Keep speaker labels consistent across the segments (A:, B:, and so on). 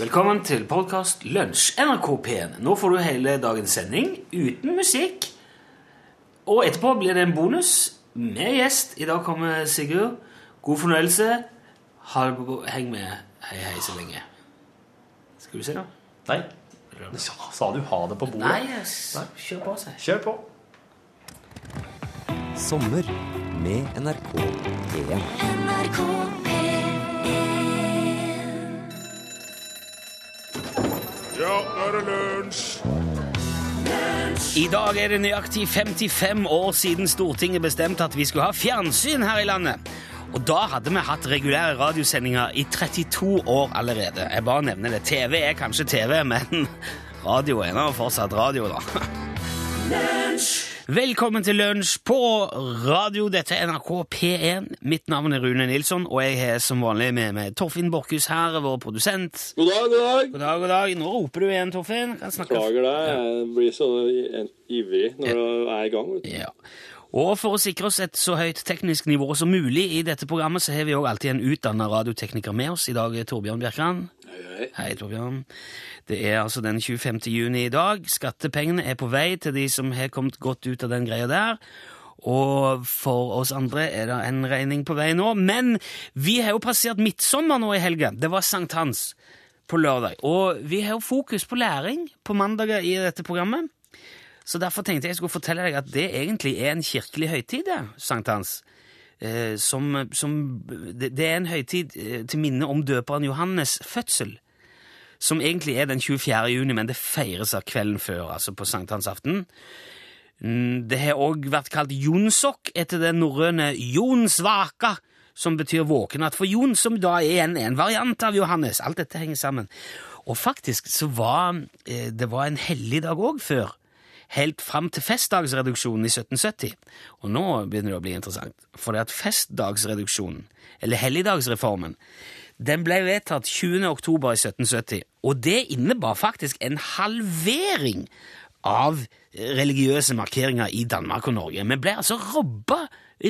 A: Velkommen til podkast Lunsj, NRK P1. Nå får du hele dagens sending uten musikk. Og etterpå blir det en bonus med gjest. I dag kommer Sigurd. God fornøyelse. Ha det på, heng med. Hei, hei så lenge. Skal du se, da?
B: Nei. Sa, sa du ha det på bordet?
A: Nei, jeg s- kjør på seg.
B: Kjør på.
C: Sommer med NRK P1.
A: I dag er det nøyaktig 55 år siden Stortinget bestemte at vi skulle ha fjernsyn her i landet. Og da hadde vi hatt regulære radiosendinger i 32 år allerede. Jeg bare nevner det. TV er kanskje TV, men radio er nå fortsatt radio, da. Velkommen til lunsj på radio. Dette er NRK P1. Mitt navn er Rune Nilsson, og jeg har som vanlig med meg Torfinn Borkhus her, vår produsent.
D: God dag, god dag.
A: God dag, god dag. Nå roper du igjen, Torfinn. Kan snakke
D: Beklager deg. Jeg blir så i- ivrig når du er i gang. vet du.
A: Ja. Og for å sikre oss et så høyt teknisk nivå som mulig i dette programmet, så har vi òg alltid en utdanna radiotekniker med oss. I dag er Torbjørn Bjerkland. Hei, Torbjørn. Det er altså den 25. juni i dag. Skattepengene er på vei til de som har kommet godt ut av den greia der. Og for oss andre er det en regning på vei nå. Men vi har jo passert midtsommer nå i helga. Det var sankthans på lørdag. Og vi har jo fokus på læring på mandager i dette programmet. Så derfor tenkte jeg skulle fortelle deg at det egentlig er en kirkelig høytid, det, sankthans. Eh, som, som, det, det er en høytid eh, til minne om døperen Johannes' fødsel, som egentlig er den 24. juni, men det feires av kvelden før, altså på sankthansaften. Mm, Det har òg vært kalt jonsokk etter den norrøne jonsvaka, som betyr våkenatt for Jon, som da er en, en variant av Johannes. Alt dette henger sammen. Og faktisk så var eh, det var en helligdag òg før, helt fram til festdagsreduksjonen i 1770. Og nå begynner det å bli interessant, for det at festdagsreduksjonen, eller helligdagsreformen, den ble vedtatt 20. oktober i 1770, og det innebar faktisk en halvering av religiøse markeringer i Danmark og Norge. Vi ble altså robba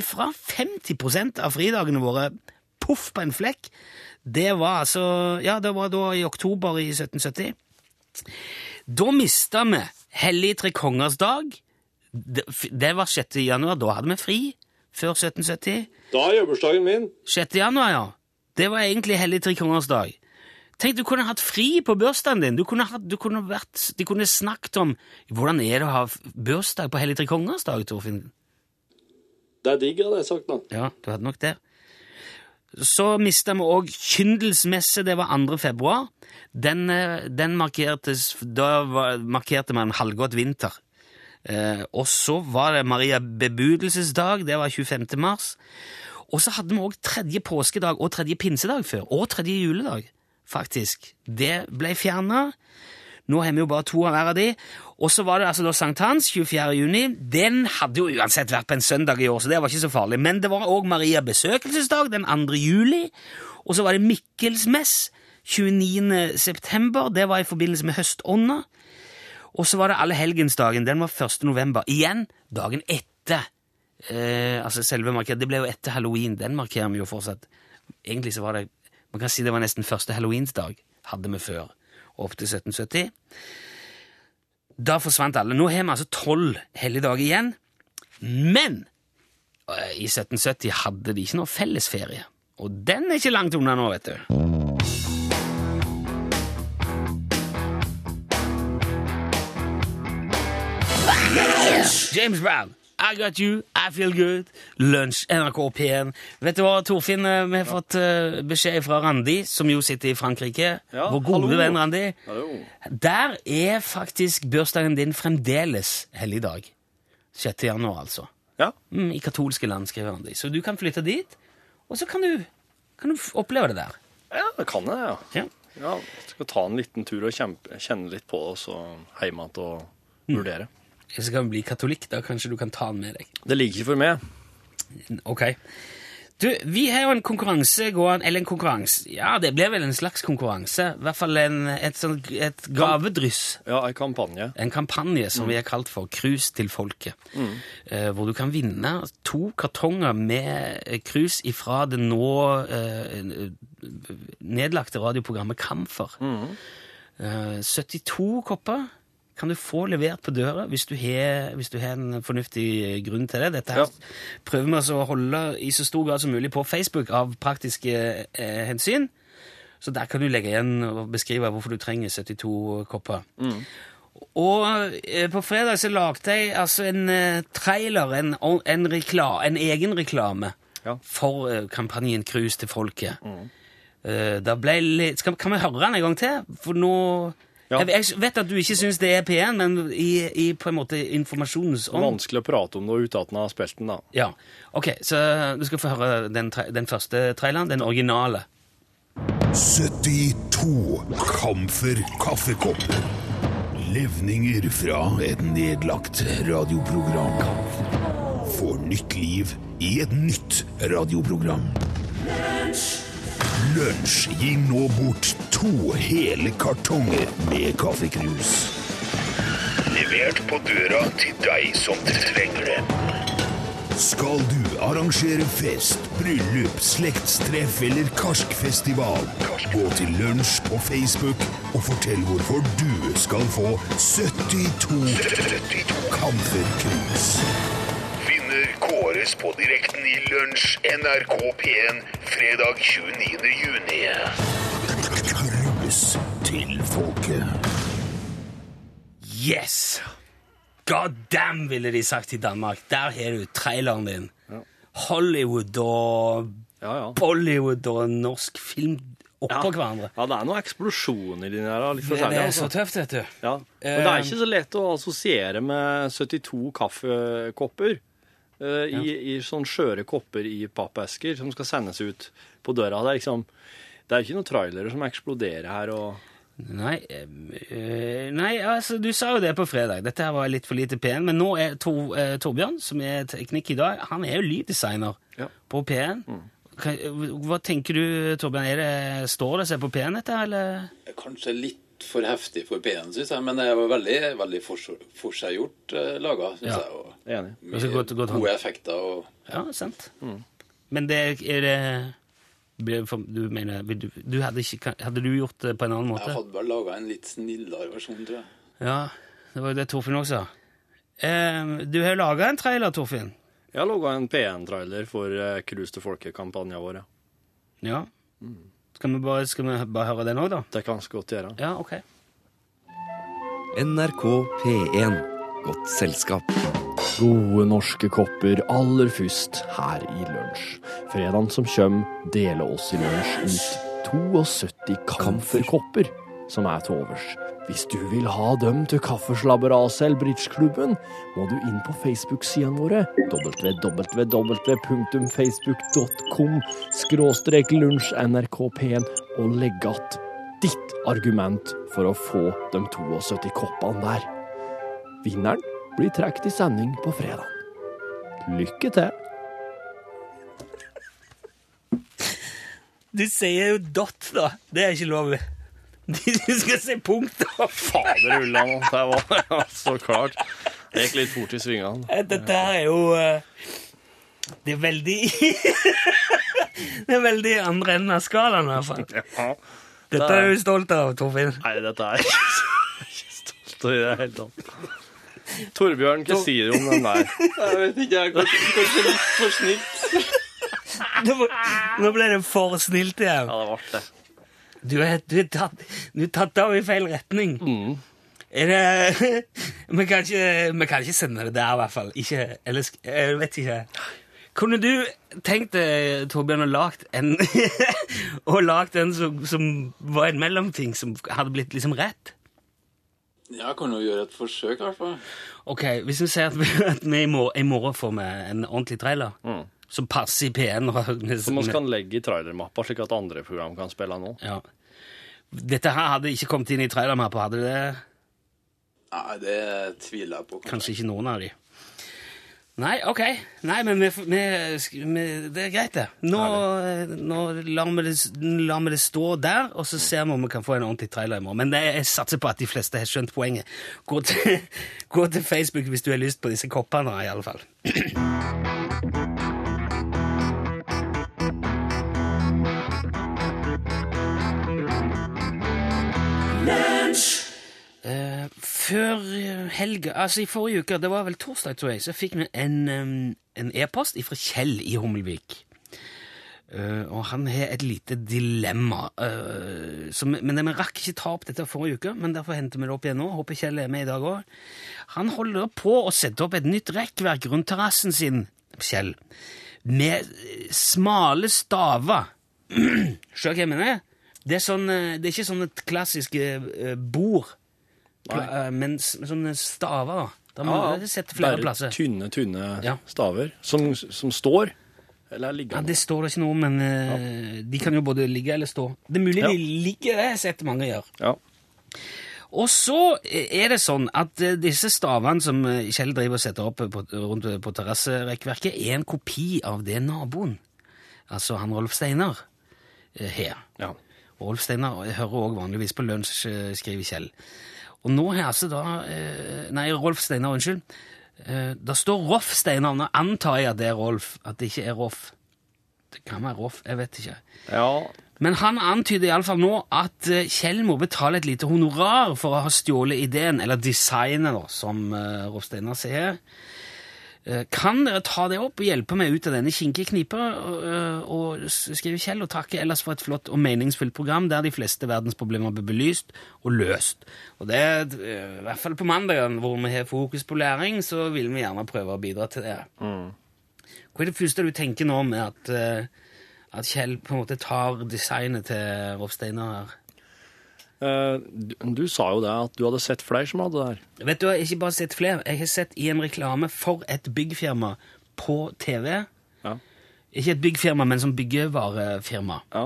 A: fra 50 av fridagene våre. Poff på en flekk. Det var altså Ja, det var da i oktober i 1770. Da mista vi Hellig tre kongers dag. Det, det var 6. januar. Da hadde vi fri. Før 1770.
D: Da er jobbursdagen min.
A: 6. januar, ja. Det var egentlig Hellig tre kongers dag. Tenk, du kunne hatt fri på bursdagen din. Du kunne hatt, du kunne vært, de kunne snakket om hvordan er det å ha f- bursdag på Hellig tre kongers dag, Torfinn.
D: Det er digg, hadde jeg sagt da.
A: Ja, du hadde nok det. Så mista vi òg kyndelsmesse, det var 2. februar. Den, eh, den markertes Da var, markerte man halvgått vinter. Eh, og så var det Maria bebudelsesdag, det var 25. mars. Og så hadde vi òg tredje påskedag og tredje pinsedag før. Og tredje juledag, faktisk. Det ble fjerna. Nå har vi jo bare to av hver av de. Og så var det altså da sankthans 24. juni. Den hadde jo uansett vært på en søndag i år, så det var ikke så farlig. Men det var òg Maria besøkelsesdag den 2. juli. Og så var det Mikkelsmess 29. september. Det var i forbindelse med høstånda. Og så var det allehelgensdagen. Den var 1. november. Igjen dagen etter. Eh, altså selve marker- Det ble jo etter halloween. Den markerer vi jo fortsatt. Egentlig så var det Man kan si det var nesten første halloweensdag hadde vi før. Opp til 1770. Da forsvant alle. Nå har vi altså tolv helligdager igjen. Men eh, i 1770 hadde de ikke noe fellesferie. Og den er ikke langt unna nå, vet du. James Brown. I got you, I feel good. Lunsj, NRK P1. Vet du hva, Torfinn, eh, vi har fått eh, beskjed fra Randi, som jo sitter i Frankrike.
B: Ja,
A: Vår gode
B: hallo.
A: venn Randi. Der er faktisk bursdagen din fremdeles helligdag. 6. januar, altså.
B: Ja.
A: Mm, I katolske land, skriver Randi. Så du kan flytte dit, og så kan du, kan du f- oppleve det der.
B: ja, det kan jeg, ja.
A: Ja.
B: ja. Skal ta en liten tur og kjempe, kjenne litt på det, og så hjem igjen og vurdere.
A: Hvis du kan bli katolikk, da kanskje du kan ta den med deg. Mm,
B: Det liker ikke for meg.
A: Ok. Du, vi har jo en konkurranse gående, eller en konkurranse, ja, det blir vel en slags konkurranse, i hvert fall en, et, sånt, et gavedryss,
B: Ja, ei kampanje.
A: en kampanje som vi har kalt for Krus til folket, eh, hvor du kan vinne to kartonger med eh, krus ifra det nå eh, nedlagte radioprogrammet Kamfer. Eh, 72 kopper kan du få levert på døra hvis du har, hvis du har en fornuftig grunn til det. Dette her
B: Ja.
A: prøver vi altså å holde i så stor grad som mulig på Facebook av praktiske eh, hensyn. Så der kan du legge igjen og beskrive hvorfor du trenger 72 kopper.
B: Mm.
A: Og eh, på fredag så lagde jeg altså en eh, trailer, en, o- en, rekla, en egen reklame,
B: Ja. Mm.
A: for eh, kampanjen Cruise til folket. Eh, da ble jeg litt, skal, kan vi høre den en gang til? For nå
B: Ja.
A: jeg, jeg vet at du ikke syns det er P1, men i, i på en måte informasjonens ånd.
B: Vanskelig å prate om det uten at en har spilt den, da.
A: Ja. Ok, så du skal få høre den, tra- den første traileren, den originale.
E: 72 kamfer kaffekopper. Levninger fra et nedlagt radioprogram. Får nytt liv i et nytt radioprogram. Lunsj gir nå bort to hele kartonger med kaffekrus. Levert på døra til deg som trenger det. Skal du arrangere fest, bryllup, slektstreff eller karskfestival? Gå til lunsj på Facebook og fortell hvorfor du skal få 72 kamferkrus. Vinner kåres på direkten i lunsj NRK P1 fredag 29. juni. Krus til folket.
A: Yes! God damn, ville de sagt i Danmark. Der har du traileren din. Hollywood og
B: Ja, ja.
A: Bollywood og norsk film oppå hverandre.
B: Ja, det er noe eksplosjon i den her. da, Litt
A: Det,
B: forskjellig.
A: det er
B: altså.
A: så tøft, vet du.
B: Ja. Men det er ikke så lett å assosiere med 72 kaffekopper eh, i, i sånn skjøre kopper i pappesker som skal sendes ut på døra. Det er liksom det er ikke noen trailere som eksploderer her. og...
A: Nei, eh, nei, altså, du sa jo det på fredag. Dette her var litt for lite P1, men nå er Tor, eh, Torbjørn, som er teknikk i dag, han er jo lyddesigner
B: Ja. Mm.
A: på P1. Kan- Hva tenker du, Torbjørn? Er det, står det seg på P1 dette, her, eller?
F: Kanskje litt for heftig for P1, syns jeg. Men det var veldig, veldig for- forseggjort eh, laga, syns
A: Ja.
F: jeg. Og
B: Enig.
A: Det er så godt- godt hånd.
F: gode effekter. og...
A: Ja, sant. Men det er det blir det for- Du mener vil du, du hadde, ikke, hadde du gjort det på en annen
F: Jeg
A: måte?
F: hadde vel laga en litt snillere versjon, tror jeg.
A: Ja, det var jo det Torfinn også sa. Eh, du har laga en trailer, Torfinn.
B: Jeg har laga en P1-trailer for eh, Cruise til folket-kampanjen vår. ja.
A: Ja. Skal vi bare, skal vi bare høre den òg, da?
B: Det kan ganske godt gjøre.
A: Ja, OK.
C: NRK P1. Godt selskap.
B: Gode norske kopper aller først her i lunsj. Fredagen som kjøm, deler oss i lunsj ut 72 kamferkopper som er til overs. Hvis du vil ha dem til kaffeslabberaset eller bridgeklubben, må du inn på Facebook-sidene våre. www.facebook.com skråstrek lunsj nrkp1 og legg att ditt argument for å få de 72 koppene der. Vinneren blir trukket i sending på fredag. Lykke til!
A: Du sier jo dot, da. Det er ikke lov. Du skal si punkt, da.
B: Fader ulla nå, det var ja, så klart. Det gikk litt fort i svingene.
A: Dette her er jo eh, Det er veldig Det er veldig andre enden av skalaen, i hvert fall. Dette er du stolt av, Torfinn.
B: Nei, dette er jeg ikke stolt av i det hele tatt. Torbjørn, hva sier du om den der?
F: Jeg vet ikke, jeg. Kanskje litt for snilt.
A: Nå ble- Nå ble det for snilt igjen.
B: Ja, det ble det.
A: Du er, du er, tatt, du er tatt av i feil retning. Er det vi kan, ikke, vi kan ikke sende det der, i hvert fall. Ikke, eller sk- Jeg vet ikke. Kunne du tenkt deg, Torbjørn, å lagt en, å lagt en som, som var en mellomting, som hadde blitt liksom rett?
F: Jeg kan jo gjøre et forsøk, i hvert fall.
A: Ok, Hvis vi sier at vi, at vi i, morgen, i morgen får vi en ordentlig trailer som passer i P1 og
B: Så man kan legge i trailermappa, slik at andre program kan spille nå.
A: ja. Dette her hadde ikke kommet inn i trailermappa, hadde det?
F: Nei, det tviler jeg på.
A: Kanskje ikke noen av de. Nei, ok. Nei, men vi, f- vi, sk- vi, det er greit, det. Nå, eh, nå lar, vi det, s- lar vi det stå der, og så ser vi om vi kan få en ordentlig trailer i morgen. Men det, jeg satser på at de fleste har skjønt poenget. Gå til, gå til Facebook hvis du har lyst på disse koppene, i alle fall. Eh, før helga Altså, i forrige uke, det var vel torsdag, tror jeg, så fikk vi en em, en e-post fra Kjell i Hummelvik. Eh, og han har et lite dilemma. eh, som, men Vi rakk ikke ta opp dette forrige uke, men derfor henter vi det opp igjen nå. Håper Kjell er med i dag òg. Han holder på å sette opp et nytt rekkverk rundt terrassen sin, Kjell, med eh, smale staver. Skjønner du hva jeg mener? Det er, sånn, eh, det er ikke sånne klassiske eh, bord, eh, men s- sånne staver. da. Da må du sette flere
B: bare
A: plasser.
B: Tynne, tynne
A: Ja.
B: staver som, som står. Eller er
A: Ja,
B: liggende.
A: Det står det ikke noe om, men eh, de kan jo både ligge eller stå. Det er mulig
B: Ja.
A: de ligger, det har jeg sett mange gjør.
B: Ja.
A: Og så er det sånn at eh, disse stavene som eh, Kjell driver og setter opp på, rundt eh, på terrasserekkverket, er en kopi av det naboen, altså han Rolf Steinar, eh, har.
B: Ja.
A: Og Rolf Steinar eh, hører også vanligvis på lunsj, eh, skriver Kjell. Og nå har altså da eh, Nei, Rolf Steinar, unnskyld. Eh, Det står Rolf Steinar. Nå antar jeg at det er Rolf, at det ikke er Rolf. Det kan være Rolf, jeg vet ikke.
B: ja.
A: Men han antyder iallfall nå at eh, Kjell må betale et lite honorar for å ha stjålet ideen, eller designet, da, som eh, Rolf Steinar sier. Eh, Kan dere ta det opp og hjelpe meg ut av denne kinkige knipa? eh, Og s- skriver Kjell og takker ellers for et flott og meningsfylt program der de fleste verdensproblemer blir belyst og løst. Og det er eh, i hvert fall på mandagen hvor vi har fokus på læring, så vil vi gjerne prøve å bidra til det. Hva er det første du tenker nå med at eh, at Kjell på en måte tar designet til Rolf Steinar her.
B: Eh, du, du sa jo det at du hadde sett flere som hadde det her.
A: Vet du, Jeg har ikke bare sett flere. Jeg har sett i en reklame for et byggfirma på TV.
B: Ja.
A: Ikke et byggfirma, men som byggevarefirma.
B: Ja.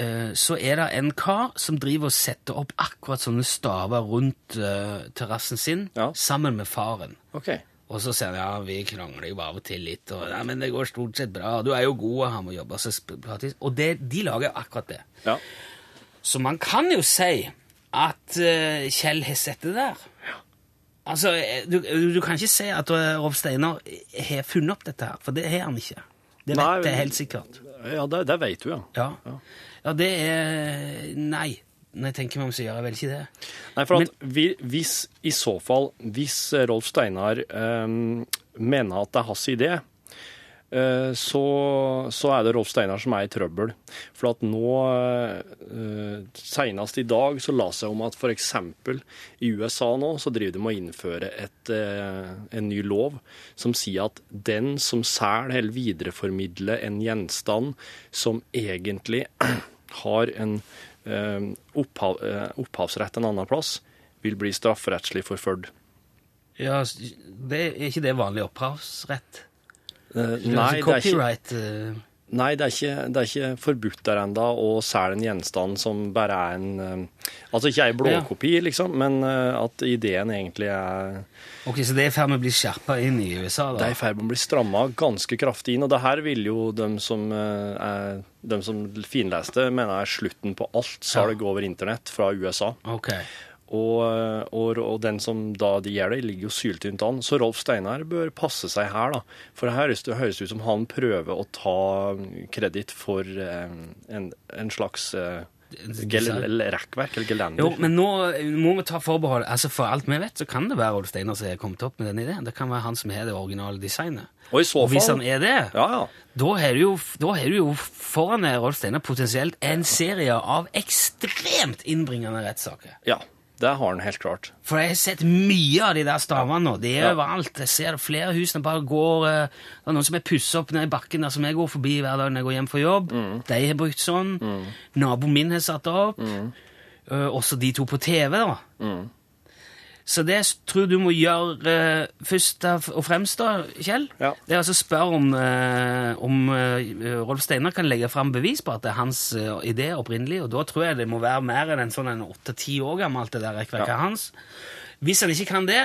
A: Eh, Så er det en kar som driver og setter opp akkurat sånne staver rundt eh, terrassen sin
B: Ja.
A: sammen med faren.
B: Ok.
A: Og så sier han ja, vi krangler jo av og til litt, og ja, men det går stort sett bra, og du er jo god, og han må jobbe. Så sp- pratis. Og det, de lager akkurat det.
B: Ja.
A: Så man kan jo si at eh, Kjell har sett det der. Altså, eh, du, du kan ikke si at eh, Rolf Steinar har funnet opp dette her, for det har han ikke. Det vet
B: Nei,
A: jeg
B: men-
A: helt sikkert.
B: Ja, det, det vet du, ja.
A: Ja. ja, det er Nei. Når jeg tenker meg om, så gjør jeg vel ikke det.
B: Nei, for at vi, hvis, i så fall, hvis Rolf Steinar eh, mener at det er hans idé, eh, så, så er det Rolf Steinar som er i trøbbel. For at nå, eh, senest i dag, så la seg om at for eksempel i USA nå, så driver de med å innføre et, eh, en ny lov som sier at den som selger eller videreformidler en gjenstand som egentlig har en eh, opphav, eh, opphavsrett en annen plass, vil bli strafferettslig forfølgt.
A: Ja, s- det Er ikke det vanlig opphavsrett?
B: Eh,
A: Altså,
B: nei, det er ikke,
A: copyright eh,
B: nei det, er ikke, det er ikke forbudt der ennå å selge en gjenstand som bare er en eh, Altså ikke ei blåkopi, liksom, men eh, at ideen egentlig er
A: Ok, Så det er i ferd med å bli skjerpa inn i USA,
B: Det
A: da?
B: er i ferd med å bli stramma ganske kraftig inn. Og det her vil jo de som, eh, er, dem som finleste, mener er slutten på alt salg over internett fra USA.
A: Ok.
B: Og, og, og den som da de gjør det, ligger jo syltynt an. Så Rolf Steinar bør passe seg her, da. For det høres, det høres ut som han prøver å ta kreditt for eh, en, en slags eh, gel, eller rekkverk, eller gelender.
A: Jo, men nå må vi ta forbehold. Altså For alt vi vet, så kan det være Rolf Steinar som har kommet opp med den ideen. Det kan være han som har det originale designet.
B: og i så
A: Og hvis
B: fall
A: han er det,
B: Ja, ja.
A: da har du jo, da har du jo foran deg, Rolf Steinar, potensielt en serie av ekstremt innbringende rettssaker.
B: ja. Det har han helt klart.
A: For jeg har sett mye av de der stavene nå. De er overalt. Jeg ser det flere hus som bare går eh, Det er noen som er pussa opp ned i bakken der som jeg går forbi hver dag når jeg går hjem fra jobb. De har brukt sånn. Naboen min har satt det opp. Eh, også de to på TV, da.
B: Mm.
A: Så det jeg tror du må gjøre eh, først av- og fremst, da, Kjell,
B: Ja.
A: det er altså å spørre om, eh, om eh, Rolf Steinar kan legge fram bevis på at det er hans eh, idé opprinnelig, og da tror jeg det må være mer enn en sånn en åtte-ti år gammelt det der rekkverket hans. Hvis han ikke kan det,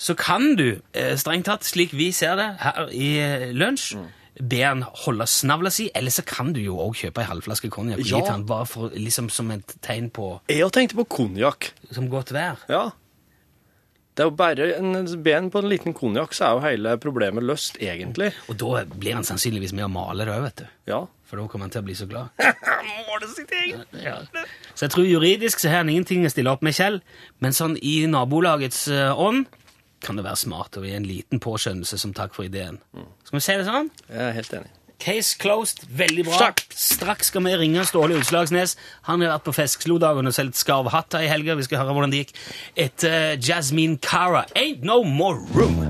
A: så kan du, eh, strengt tatt, slik vi ser det her i eh, lunsj,
B: Mm.
A: be han holde snavla si, eller så kan du jo også kjøpe ei halvflaske konjakk og gi
B: Ja.
A: til han, bare for, liksom, som et tegn på
B: Jeg tenkte på konjakk.
A: som godt vær.
B: Ja. Det er jo bare en ben på en liten konjakk, så er jo hele problemet løst, egentlig.
A: Og da blir han sannsynligvis med og maler òg, vet du.
B: Ja.
A: For da kommer han til å bli så glad. Ja. Så jeg tror juridisk så har han ingenting å stille opp med Kjell, men sånn i nabolagets eh, ånd kan det være smart å gi en liten påskjønnelse som takk for ideen. Skal vi si det sånn?
B: Jeg er helt enig.
A: Case closed. Veldig bra.
B: Takk.
A: Straks skal vi ringe Ståle Utslagsnes. Han har vært på Feskslodagen og solgt skarvhatter i helga. Vi skal høre hvordan det gikk etter eh, Jasmine Cara. Ain't no more room.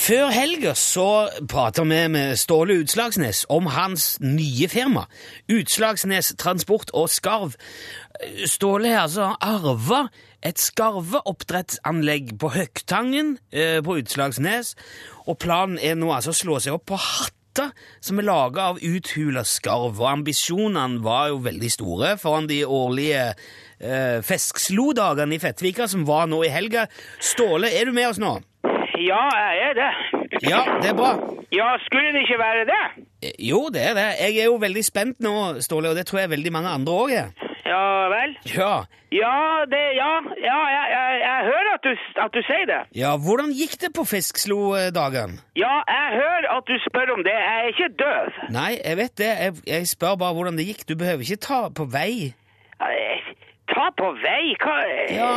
A: Før helga så prater vi med Ståle Utslagsnes om hans nye firma, Utslagsnes Transport og Skarv. Ståle har altså arva et skarveoppdrettsanlegg på Høgtangen eh, på Utslagsnes, og planen er nå altså å slå seg opp på hatter som er laga av uthula skarv, og ambisjonene var jo veldig store foran de årlige eh, Feskslo-dagene i Fettvika som var nå i helga. Ståle, er du med oss nå?
G: Ja, jeg er det.
A: Ja, det er bra. Eh,
G: Ja, skulle det ikke være det?
A: Jo, det er det. Jeg er jo veldig spent nå, Ståle, og det tror jeg veldig mange andre òg er.
G: Ja vel?
A: Ja.
G: Ja, det Ja, ja jeg, jeg, jeg hører at du, at du sier det.
A: ja, hvordan gikk det på Fiskslo-dagen?
G: Ja, jeg hører at du spør om det. Jeg er ikke døv.
A: Nei, jeg vet det. Jeg, jeg spør bare hvordan det gikk. Du behøver ikke ta på vei.
G: Eh, Ta på vei, hva
A: Ja,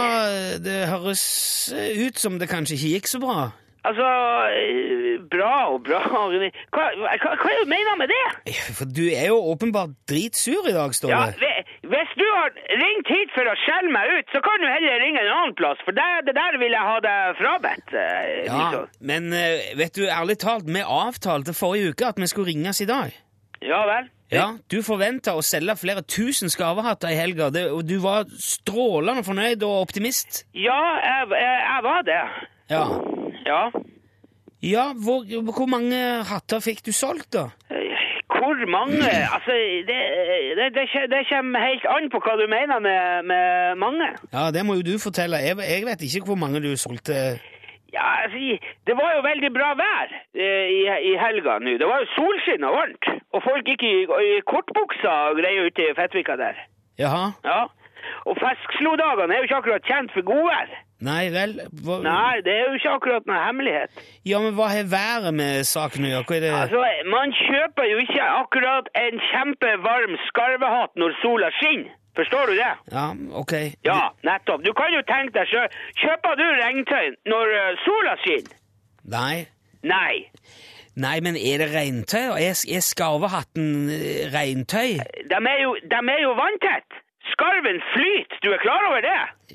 A: det høres ut som det kanskje ikke gikk så bra.
G: Altså eh, Bra og bra, Rune. Hva, hva, hva er det du mener med det?
A: For du er jo åpenbart dritsur i dag,
G: Ja,
A: Ståle.
G: ve- Hvis du har ringt hit for å skjelle meg ut, så kan du heller ringe en annen plass, for det, det der vil jeg ha deg frabedt. eh, liksom.
A: men eh, vet du, ærlig talt, vi avtalte forrige uke at vi skulle ringes i dag.
G: ja vel?
A: Ja, du forventa å selge flere tusen skarvehatter i helga, det- og du var strålende fornøyd og optimist.
G: Ja, jeg, jeg, jeg var det.
A: Ja,
G: Ja.
A: ja hvor, hvor mange hatter fikk du solgt, da?
G: Eh, Hvor mange? Altså, det, det, det, kje- det kommer helt an på hva du mener med, med mange.
A: Ja, Det må jo du fortelle. Jeg, jeg vet ikke hvor mange du solgte.
G: Ja, altså, det var jo veldig bra vær eh, i, i helga nå. Det var jo solskinn og varmt. Og folk gikk i, i kortbuksa og greier ute i Fettvika der.
A: Jaha?
G: Ja. Og feskslo-dagene er jo ikke akkurat kjent for godvær.
A: Nei vel? Hva,
G: Nei, det er jo ikke akkurat noe hemmelighet.
A: Ja, men hva har været med saken å gjøre? Hva er det?
G: Altså, man kjøper jo ikke akkurat en kjempevarm skarvehatt når sola skinner. Forstår du det?
A: Ja, ok.
G: Ja, nettopp. Du kan jo tenke deg sjøl. Kjøper du regntøy når eh, sola skinner?
A: Nei.
G: Nei.
A: Nei, men er det regntøy? Er, er skarvehatten eh, regntøy?
G: De er jo, de er jo vanntett. Skarven flyter. Du er klar over det?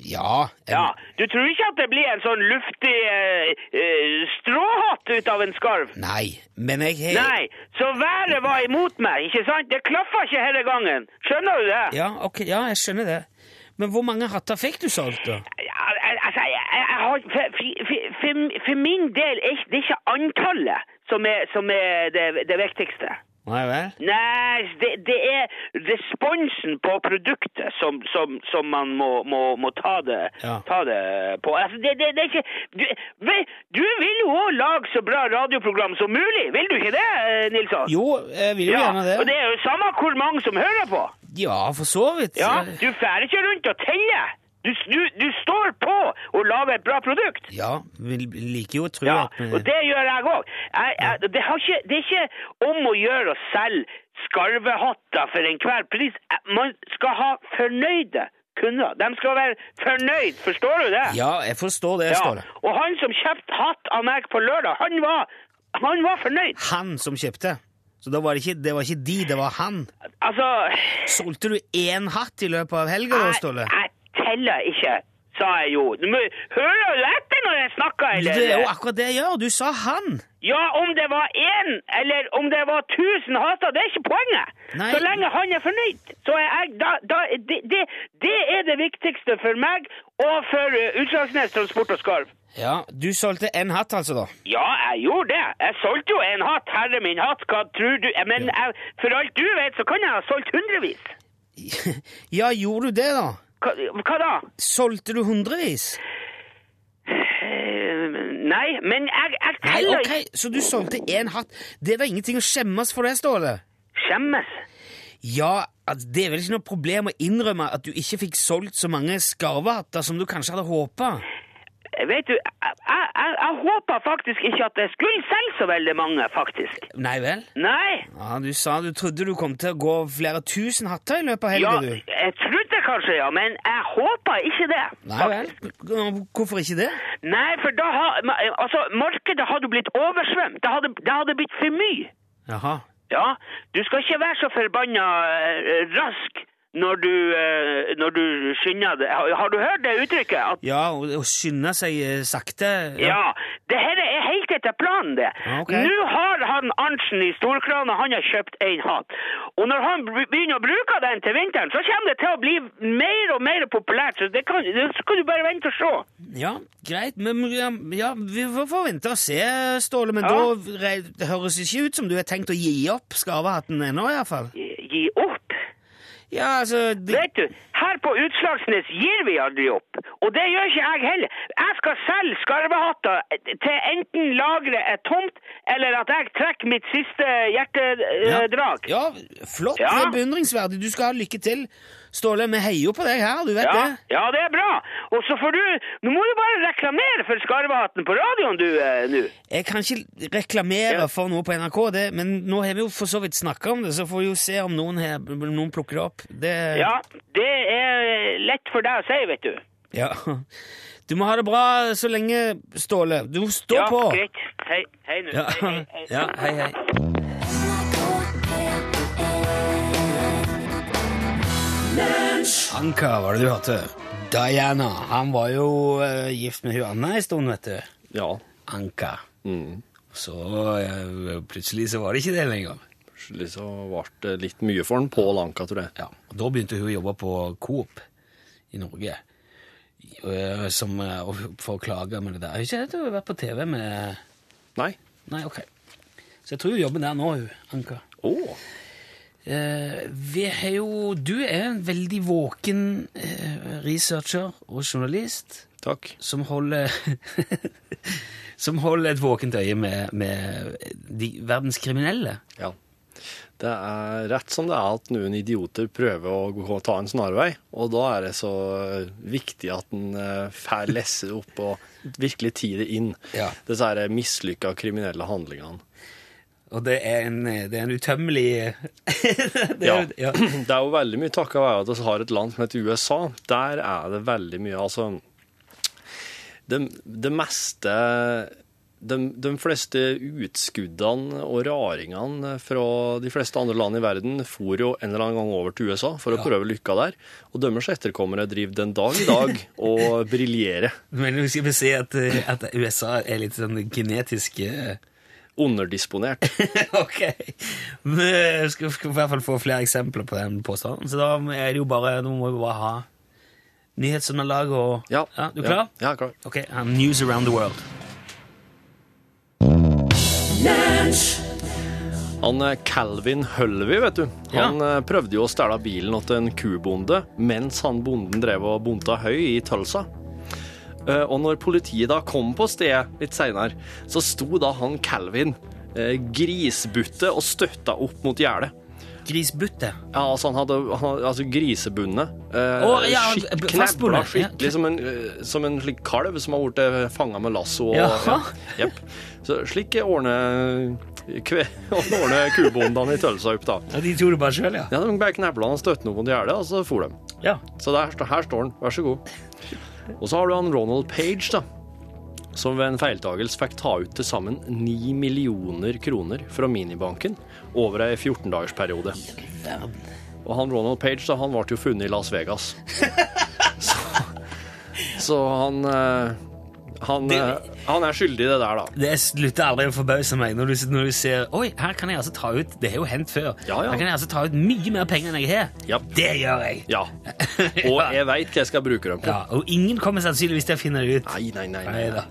A: Ja. jeg-
G: Ja. Du tror ikke at det blir en sånn luftig eh, eh, stråhatt ut av en skarv?
A: Nei, men jeg har
G: Nei. Så været var imot meg, ikke sant? Det klaffa ikke hele gangen. Skjønner du det?
A: Ja, ok, ja, jeg skjønner det. Men hvor mange hatter fikk du solgt, da?
G: Ja, al- altså, jeg, jeg jeg har, for, for, for, for min del er ikke- det er ikke antallet som er, som er det, det viktigste.
A: Nei vel?
G: Nei, det, det er responsen på produktet som, som, som man må, må, må ta, det,
A: Ja.
G: ta det på. Altså, det, det, det er ikke du, ve- du vil jo òg lage så bra radioprogram som mulig, vil du ikke det, eh, Nilsson?
A: Jo, jeg vil jo
G: ja, og
A: gjerne
G: det
A: det.
G: er jo samme hvor mange som hører på.
A: Ja, for så vidt.
G: Ja, Du fer ikke rundt og teller. Du, s- du, du står på og lager et bra produkt.
A: Ja, vi liker jo å tro
G: Ja,
A: at vi-
G: og det gjør jeg òg. Det, har ikke- det er ikke om å gjøre å selge skarvehatter for enhver pris. Eh, Man skal ha fornøyde kunder. De skal være fornøyd, forstår du det?
A: Ja, jeg forstår det,
G: Ja,
A: Ståle.
G: Og han som kjøpte hatt av meg på lørdag, han var, han var fornøyd.
A: Han som kjøpte. Så da var det ikke, det var ikke de, det var han.
G: Altså
A: Solgte du én hatt i løpet av helga, da, Ståle?
G: Jeg, jeg teller ikke, sa jeg jo. Du må, hører du etter når jeg snakker, eller?
A: Det er jo akkurat det jeg gjør. Du sa han.
G: Ja, om det var én eller om det var tusen hater, det er ikke poenget.
A: Nei.
G: Så lenge han er fornøyd, så er jeg da, da det, det, det er det viktigste for meg og for eh, Utslagsnes Transport og Skarv.
A: Ja, du solgte én hatt, altså, da.
G: Ja, jeg gjorde det. Jeg solgte jo en hatt, herre min hatt, hva tror du Men jeg, for alt du vet, så kan jeg ha solgt hundrevis.
A: Ja, gjorde du det, da?
G: Hva, hva da?
A: Solgte du hundrevis?
G: Eh,
H: Nei, men jeg, jeg
A: Nei,
H: teller
A: ok, Så du solgte én hatt. Det er da ingenting å skjemmes for det, Ståle?
H: ikke skjemmes.
A: Ja, altså, det er vel ikke noe problem å innrømme at du ikke fikk solgt så mange skarvehatter som du kanskje hadde håpa?
H: Vet du, jeg, jeg, jeg, jeg håpa faktisk ikke at jeg skulle selge så veldig mange, faktisk.
A: Nei vel?
H: Nei.
A: Ja, Du sa du trodde du kom til å gå flere tusen hatter i løpet av
H: Ja,
A: helga, du.
H: jeg trodde kanskje, ja, men jeg håpa ikke det.
A: Nei vel? Hvorfor ikke det?
H: Nei, for da har ma- Altså, markedet hadde blitt oversvømt. Det hadde, det hadde blitt for mye.
A: Jaha.
H: Ja, du skal ikke være så forbanna eh, rask når du, eh, når du skynder deg. Har, har du hørt det uttrykket? At
A: Ja, å å skynde seg eh, sakte?
H: Ja, det her er helt etter planen, det.
A: Ja, ok.
H: Nå har han Arntzen i storkrana, han har kjøpt en hatt. Og når han br- begynner å bruke den til vinteren, så kommer det til å bli mer og mer populært. Så det kan, det skal du bare vente og se.
A: Ja, greit, men ja, ja, vi får får vente og se, Ståle. Men
H: Ja.
A: da re- det høres det ikke ut som du har tenkt å gi opp skarvehatten ennå, iallfall.
H: Gi, gi opp.
A: Ja, altså det,
H: Vet du, her på Utslagsnes gir vi aldri opp. Og det gjør ikke jeg heller. Jeg skal selge skarvehatter til enten lageret er tomt, eller at jeg trekker mitt siste hjertedrag.
A: Ja, flott.
H: eh, Ja.
A: Det er beundringsverdig. Du skal ha lykke til. Ståle, vi heier jo på deg her, du vet
H: Ja,
A: det.
H: ja, det er bra. Og så får du Nå må du bare reklamere for Skarvehatten på radioen, du, eh, nå.
A: Jeg kan ikke reklamere
H: Ja.
A: for noe på NRK, det, men nå har vi jo for så vidt snakka om det, så får vi jo se om noen, her, om noen plukker det opp. Det,
H: Ja, det er lett for deg å si, vet du.
A: ja. Du må ha det bra så lenge, Ståle. Du må stå
H: ja,
A: på.
H: Greit. Hei, hei nå.
A: Ja.
H: Hei, hei, hei.
A: ja, hei, hei. Anka var det du hørte. Diana. Han var jo eh, gift med hun Anna en stund, vet du.
B: Ja.
A: Anka. Så eh, plutselig så var det ikke det lenger.
B: Plutselig så liksom ble det litt mye for den på Lanka, tror jeg.
A: Ja, og Da begynte hun å jobbe på Coop i Norge. Eh, Som, eh, og for å klage med det der. Jeg har ikke helt vært på TV med
B: Nei.
A: Nei, ok. Så jeg tror hun jobber der nå, hun, Anka.
B: Åh.
A: Eh, vi har jo Du er en veldig våken eh, researcher og journalist
B: Takk.
A: som holder Som holder et våkent øye med, med de verdens kriminelle.
B: Ja. Det er rett som det er at noen idioter prøver å gå- ta en snarvei, og da er det så eh, viktig at en eh, får lesse opp og virkelig ti det inn.
A: Ja.
B: Disse her mislykka kriminelle handlingene.
A: Og det er en, det er en utømmelig det
B: Ja.
A: er, ja.
B: Det er jo veldig mye takket være at vi har et land som heter USA. Der er det veldig mye, altså Det, det meste de, de fleste utskuddene og raringene fra de fleste andre land i verden for jo en eller annen gang over til USA for å prøve lykka der. Og deres etterkommere driver den dag i dag og briljerer.
A: Men vi skal vi si at, eh, at USA er litt sånn genetisk eh,
B: Underdisponert.
A: Ok. eh, Vi skal, skal i hvert fall få flere eksempler på den påstanden. Så da er det jo bare Nå må vi bare ha nyhetsunderlag og
B: Ja.
A: Du klar?
B: Ja, ja klar.
A: Ok, um, News Around the World.
B: Han eh, Calvin Hølvi, vet du. Han eh, prøvde jo å stjele bilen til en kubonde mens han bonden drev og bonta høy i Tulsa. Eh, Og når politiet da kom på stedet litt seinere, så sto da han Calvin eh, grisbutte og støtta opp mot gjerdet.
A: Grisbutte.
B: Ja, altså han hadde, han hadde altså grisebundet. Eh,
A: Å, ja,
B: skikk-
A: b-
B: knebla
A: fastbundet.
B: skikkelig som en, eh, som en slik kalv som har blitt fanga med lasso. Og,
A: Jaha.
B: ja, jepp. Så slik ordner kve- ordner kubondene i Tølsa opp, da.
A: Ja, de tok det bare sjøl, ja.
B: Ja, De bare knebla han og støtte noe mot gjerdet, og så for de.
A: ja.
B: Så der, sta- her står han. Vær så god. Og så har du han Ronald Page, da. Som ved en feiltagelse fikk ta ut til sammen 9 millioner kroner fra minibanken over ei 14-dagersperiode. Og han Ronald Page da, han ble jo funnet i Las Vegas. Så, så han eh, han, eh, han er skyldig i det der, da.
A: Det slutter aldri å forbause meg når du, når du ser Oi, her kan jeg altså ta ut Det har jo hendt før.
B: Ja, ja.
A: Her kan jeg altså ta ut mye mer penger enn jeg har.
B: Ja.
A: Det gjør jeg.
B: Ja. Og jeg veit hva jeg skal bruke dem på.
A: Ja, og ingen kommer sannsynligvis til å finne det ut.
B: Nei, nei, nei. nei.
A: Nei da.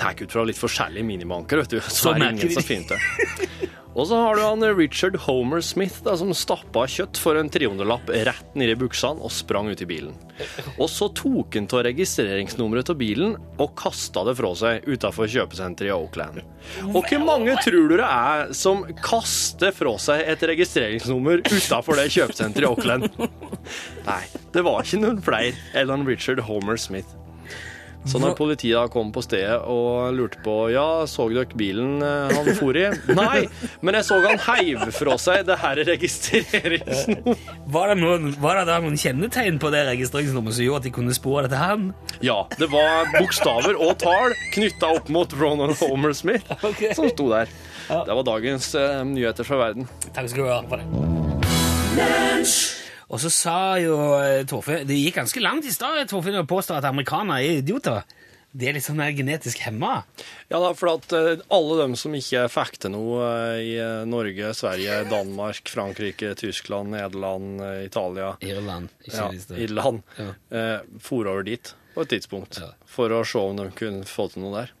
B: tar ut fra litt forskjellige minibanker, vet du. Så,
A: Så
B: er det
A: merker
B: ingen
A: vi-
B: som finner det. Og så har du han Richard Homer Smith da, som stappa kjøtt for en 300-lapp rett ned i buksene og sprang ut i bilen. Og så tok han av registreringsnummeret av bilen og kasta det fra seg utafor kjøpesenteret i Oakland. Og hvor mange tror du det er som kaster fra seg et registreringsnummer utafor det kjøpesenteret i Oakland? Nei, det var ikke noen flere enn han Richard Homer Smith. Så når politiet da kom på stedet og lurte på Ja, så dere bilen eh, han for i? Nei, men jeg så han heiv fra seg det her registreringsnummeret.
A: Var det, noen, var det da noen kjennetegn på det registreringsnummeret som gjorde at de kunne spore det til han?
B: Ja, det var bokstaver og tall knytta opp mot Ronan Homer Smith
A: Ok.
B: som sto der. Det var dagens eh, nyheter fra verden.
A: Takk skal du ha for det. Og så sa jo eh, Torfinn Det gikk ganske langt i stad Torfinn å påstå at amerikanere er idioter. De er litt sånn der genetisk hemma.
B: Ja, da, for at eh, alle dem som ikke fikk til noe eh, i eh, Norge, Sverige, Danmark, Frankrike, Tyskland, Nederland, eh, Italia
A: Irland. ikke
B: ja,
A: minst.
B: Irland,
A: Ja.
B: eh, for over dit på et tidspunkt
A: Ja.
B: for å se om de kunne få til noe der.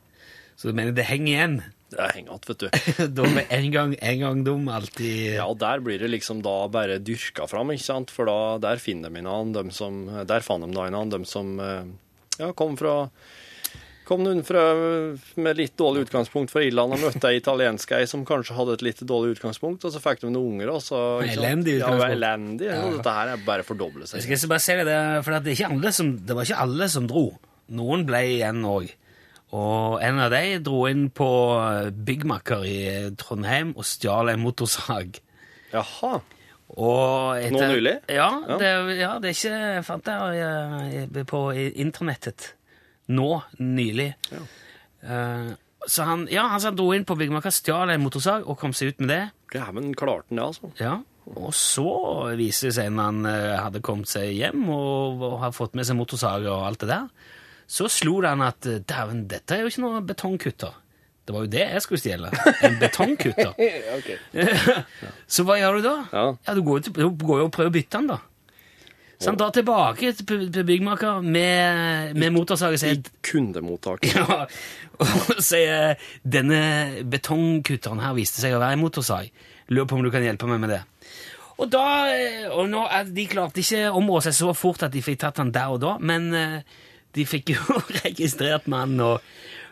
A: Så du mener det henger igjen?
B: Det henger igjen, vet du.
A: Dum er en gang, en gang dum, alltid
B: Ja, og der blir det liksom da bare dyrka fram, ikke sant? For da, der finner de en annen, dem som, der fant de da en annen, dem som eh, ja, kom fra Kom noen fra, med litt dårlig utgangspunkt fra Irland og møtte ei italiensk ei som kanskje hadde et litt dårlig utgangspunkt, og så fikk de noen unger, og så ikke sant?
A: Elendig
B: Ja, det var
A: utgangspunkt.
B: elendig. Og dette her er bare fordoblet
A: Jeg
B: seg.
A: skal bare si det, der, for at det, er ikke alle som, det var ikke alle som dro. Noen ble igjen òg. Og en av de dro inn på eh, Byggmakker i eh, Trondheim og stjal en motorsag.
B: Jaha.
A: Og etter-
B: Nå nylig?
A: Ja,
B: Ja.
A: det, ja, det er ikke jeg fant det eh, på internettet. Nå nylig. Eh, så han, ja, altså han sa han dro inn på Byggmakker, stjal en motorsag og kom seg ut med det.
B: Dæven, klarte han det, altså?
A: Ja, og så viser det seg når han eh, hadde kommet seg hjem og, og har fått med seg motorsager og alt det der, så slo det han at eh, dæven, dette er jo ikke noe betongkutter. Det var jo det jeg skulle stjele. En betongkutter. så hva gjør du da?
B: Ja.
A: du går jo til- du går jo og prøver å bytte den, da. Så han drar tilbake til til byggmaker med, med motorsager og
B: I
A: sier
B: kundemottak.
A: ja, og sier denne betongkutteren her viste seg å være en motorsag. Lurer på om du kan hjelpe meg med det. Og da, eh, og nå, eh, De klarte ikke å områ seg så fort at de fikk tatt han der og da, men eh, de fikk jo registrert mannen, og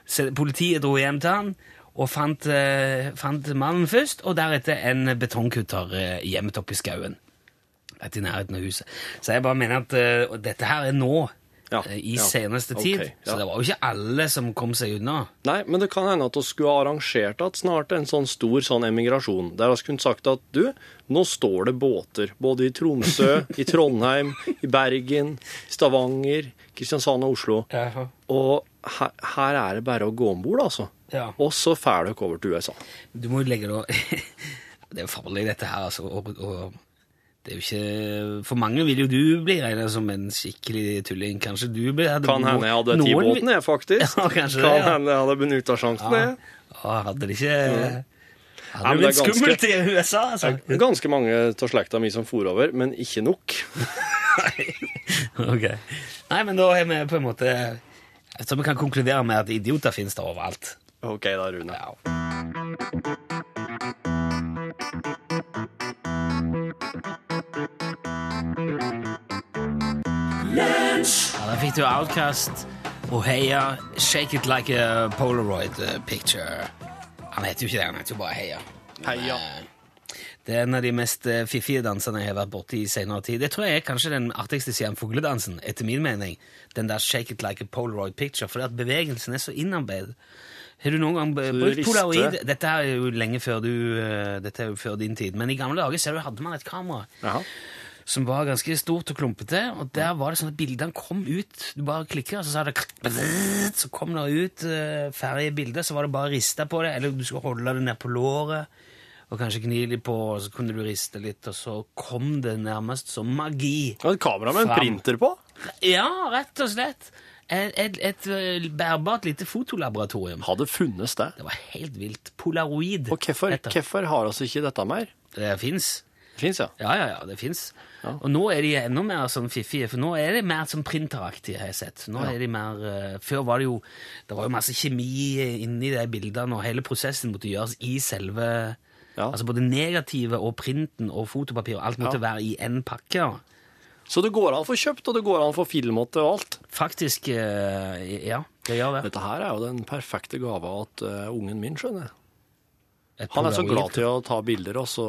A: så politiet dro hjem til han og fant, eh, fant mannen først, og deretter en betongkutter eh, gjemt oppe i skauen. Rett i nærheten av huset. Så jeg bare mener at eh, dette her er nå,
B: Ja,
A: eh, i
B: ja.
A: seneste
B: Ok,
A: tid.
B: ja.
A: Så det var jo ikke alle som kom seg unna.
B: Nei, men det kan hende at vi skulle ha arrangert at snart en sånn stor sånn emigrasjon, der vi kunne sagt at du, nå står det båter, både i Tromsø, i Trondheim, i Bergen, Stavanger, Kristiansand og Oslo. Og her, her er det bare å gå om bord, altså.
A: Ja.
B: Og så fær dere over til USA.
A: Du må jo legge det Det er jo farlig, dette her, altså. Og, og det er jo ikke For mange vil jo du bli regnet som en skikkelig tulling. Kanskje du blir hadde-
B: Kan hende jeg hadde
A: noen
B: ti
A: vil-
B: båten, jeg, faktisk.
A: Ja, kanskje
B: kan
A: det, ja.
B: hende jeg hadde benytta sjansen, jeg.
A: Å, hadde det ikke
B: Nei,
A: Hadde det blitt
B: men det er ganske-
A: skummelt i USA, altså.
B: Ganske mange av slekta mi som for over, men ikke nok.
A: Ok. Nei, men da har vi på en måte Jeg tror vi kan konkludere med at idioter finnes der overalt.
B: Ok da, Rune.
A: Ja, da fikk du Outcast og Heia Shake It Like a Polaroid eh, Picture. Han heter jo ikke det, han heter jo bare Heia. eh,
B: Heia.
A: Det er en av de mest eh, fiffige dansene jeg har vært borti i senere tid. Det tror jeg er kanskje den artigste siden fugledansen, etter min mening. Den der Shake It Like a Polaroid Picture, fordi at bevegelsen er så innarbeidet. Har du noen gang b-
B: du
A: brukt
B: rister.
A: polaroid? Dette er jo lenge før du, eh, dette er jo før din tid, men i gamle dager ser du, hadde man et kamera
B: Jaha.
A: som var ganske stort og klumpete. Og der var det sånn at bildene kom ut. Du bare klikker, og så sa det klikk, brrrt, Så kom det ut eh, ferdige bilder. Så var det bare å riste på det, eller du skulle holde det ned på låret. Og kanskje gni litt på, og så kunne du riste litt, og så kom det nærmest som magi.
B: Jeg hadde et kamera med en
A: Fram.
B: printer på.
A: Ja, rett og slett. Et, et, et eh, bærbart lite fotolaboratorium.
B: Hadde funnes det.
A: Det var helt vilt. Polaroid.
B: Og hvorfor,
A: heter det.
B: hvorfor har
I: altså
B: oss ikke dette mer?
A: Det fins.
B: Fins, ja.
A: Ja, ja, ja, det fins. Og nå er de enda mer sånn fiffige, for nå er de mer sånn printeraktige, har jeg sett. Nå er de mer, eh, Før var det jo det var jo masse kjemi inni de bildene, og hele prosessen måtte gjøres i selve
I: Ja.
A: Altså både negativet og printen og fotopapir og alt måtte
I: Ja.
A: være i én pakke. ja.
I: Så det går an å få kjøpt, og det går an å få filmet og alt.
A: Faktisk, eh, ja, det gjør det.
I: Dette her er jo den perfekte gava at eh, ungen min, skjønner jeg.
A: Et
I: Han er så glad
A: polaroid.
I: til å ta bilder, og så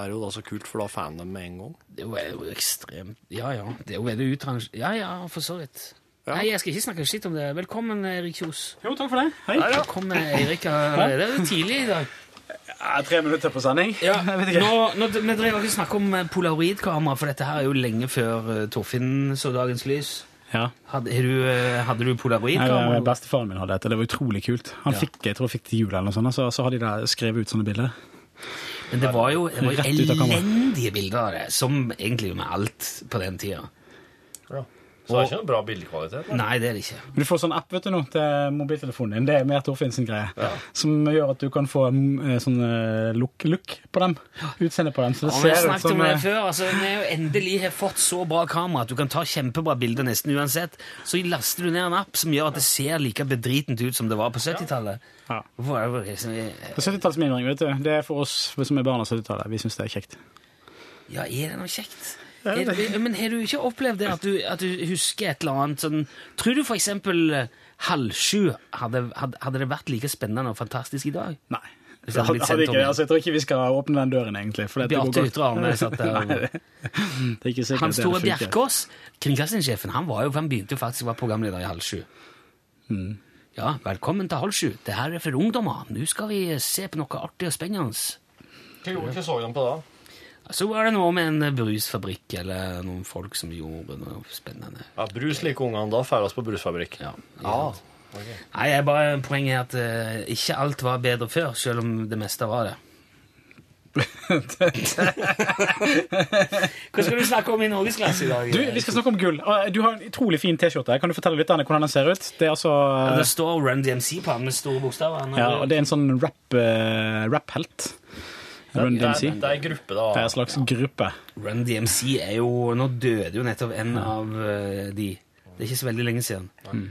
I: er det jo da så kult, for da får han dem med en gang.
A: Det er jo ekstremt Ja, ja. Det er jo veldig utrangert. Ja, ja, for så vidt.
I: Ja.
A: Nei, jeg skal ikke snakke skitt om det. Velkommen, Erik Kjos.
J: Jo, takk for det. Hei.
A: Velkommen, Erik. Det er jo tidlig i dag.
J: Jeg er tre minutter på sending. Jeg vet ikke.
A: Nå, nå, vi drev ikke snakk om eh, polaroidkamera, for dette her er jo lenge før eh, Torfinn så dagens lys.
J: Ja.
A: Hadde, er du, eh, hadde du
J: Nei,
A: polaroidkamera?
J: eh, Bestefaren min hadde et, og det var utrolig kult. Han fikk, jeg tror han fikk til jul eller noe sånt, og så, så har de der skrevet ut sånne bilder.
A: Men det var jo, det var
J: Rett ut
A: jo
J: av kamera.
A: elendige bilder av det, som egentlig med alt på den tida.
B: Så det er ikke noe bra bildekvalitet.
A: Nei, det er det ikke.
J: Men Du får sånn app vet du nå, til mobiltelefonen din, det er mer Torfinn sin greie, som gjør at du kan få mm, eh, sånn eh, look, look på dem, utseende på dem. Så det
A: Ja, men jeg
J: ser ut
A: snakket
J: som
A: om det
J: eh,
A: før, altså Når jeg jo endelig har fått så bra kamera at du kan ta kjempebra bilder nesten uansett, så laster du ned en app som gjør at det ser like bedritent ut som det var på 70-tallet.
J: Ja.
A: Hvorfor er det bare sånn-
J: på 70-tallsminnering, vet du. Det er for oss som er barn av 70-tallet. Vi syns det er kjekt.
A: Ja, er det noe kjekt? Er, det- men har du ikke opplevd det at du, at du husker et eller annet sånn Tror du for eksempel eh, halv sju hadde, hadde, hadde det vært like spennende og fantastisk i dag?
J: Nei.
A: Hvis det hadde blitt
J: Hadde
A: sendt om
J: ikke,
A: igjen.
J: altså, jeg tror ikke vi skal åpne den døren, egentlig. For dette går
A: Bjarte
J: godt.
A: Ytre Arne satt der.
J: Nei, det det er ikke
A: Hans
J: sikkert det hadde
A: Tore
J: funket.
A: Bjerkås, kringkastingssjefen, han, var jo, han begynte jo faktisk å være programleder i halv sju.
J: Mm.
A: Ja, velkommen til halv sju. Det her er for ungdommer. Nå skal vi se på noe artig og spennende.
B: Hva så de på da?
A: Så var det noe med en brusfabrikk eller noen folk som gjorde noe spennende.
B: Ja, Brus liker ungene da, ferdes på brusfabrikk.
A: Ja.
B: Ah,
A: Nei, jeg bare Poenget er at eh, ikke alt var bedre før, selv om det meste var det. Hva skal vi snakke om i norgesklasse i dag?
J: Du, vi skal snakke om gull. Og, eh, Du har en utrolig fin T-skjorte. Kan du fortelle lytterne hvordan den ser ut? Det er altså
A: Ja, Det står Run DMC på den med store bokstaver.
J: ja, og det er en sånn rap, eh, rap-helt. Run
B: det,
J: DMC.
B: er, det er gruppe, da.
J: Det er en slags gruppe.
A: Run DMC er jo Nå døde jo nettopp en av eh, de. Det er ikke så veldig lenge siden.
J: Mm.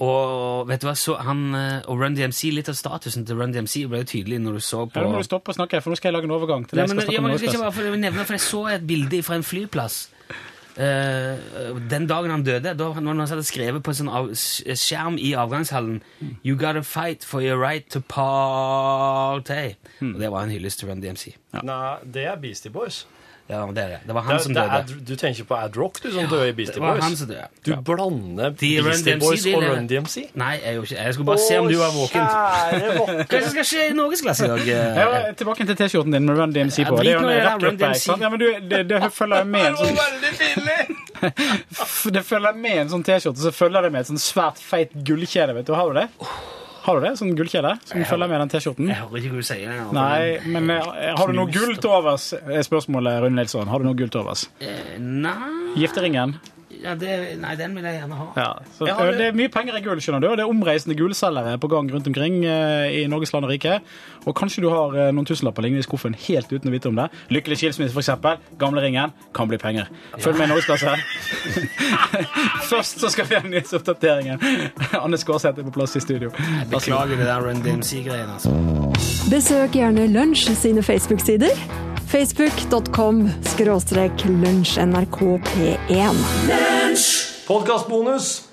A: Og vet du hva, så han eh, og Run DMC, litt av statusen til Run DMC ble jo tydelig når du så på
J: Ja, nå må du stoppe å snakke, for nå skal jeg lage en overgang til
A: Nei,
J: det jeg
A: men,
J: skal snakke
A: ja,
J: om.
A: men
J: nå
A: jeg skal ikke
J: først.
A: bare for å nevne, for jeg så et bilde fra en flyplass. Eh, den dagen han døde, da han, når han hadde skrevet på en sånn av, skjerm i avgangshallen
J: Mm.
A: You gotta fight for your right to party.
J: Mm.
A: Og det var en hyllest til Run DMC.
B: Nei, det er Beastie Boys.
A: Ja, men det er det. Det var
B: Det
A: han
B: er,
A: som
B: det
A: døde.
B: er, du tenker på Ad Rock, du, som døde i Beastie
A: Det var
B: Boys.
A: han som døde.
B: Du blander
A: De Run
B: Beastie
A: DMC,
B: Boys
A: de
B: og
A: lever.
B: Run DMC?
A: Nei, jeg gjorde ikke det. Jeg skulle bare se om du var våken. Hva er det som skal skje i norgesklasse i dag?
J: Ja,
A: eh?
J: tilbake til T-skjorten din med Run DMC
A: Ja,
J: på. Det er
A: drit
J: jo
A: nå i det,
J: en
A: Run
J: rappgruppe.
A: DMC.
J: ikke sant? Ja, men du, det, det følger med en sånn
F: Veldig billig!
J: F- Det følger med en sånn T-skjorte, så følger det med et sånn svært feit gullkjede. vet du. Har du det? Har du det? Sånn gullkjede som følger med den T-skjorten?
A: Jeg hører ikke hva du sier. altså.
J: Nei, men eh, har du noe gull til overs? Er spørsmålet, Rune Nilsson. Har du noe gull til overs?
A: Eh, Nei,
J: Gifteringen?
A: ja, det, nei, den vil jeg gjerne ha.
J: Ja. Så, eh, det er mye penger i gull, skjønner du. Og det er omreisende gullselgere på gang rundt omkring eh, i Norges land og rike. Og kanskje du har eh, noen tusenlapper liggende i skuffen helt uten å vite om det. Lykkelig skilsmisse, f.eks. Gamleringen kan bli penger. Følg med i Norgesklasse. Først så skal vi ha nyhetsoppdateringen. Anne Skårseth er på plass i studio.
A: Beklager det der Run DMC-greiene, altså.
K: Besøk gjerne Lunsj sine Facebook-sider. Facebook.com skråstrek lunsjnrkp1.
B: Podkastbonus!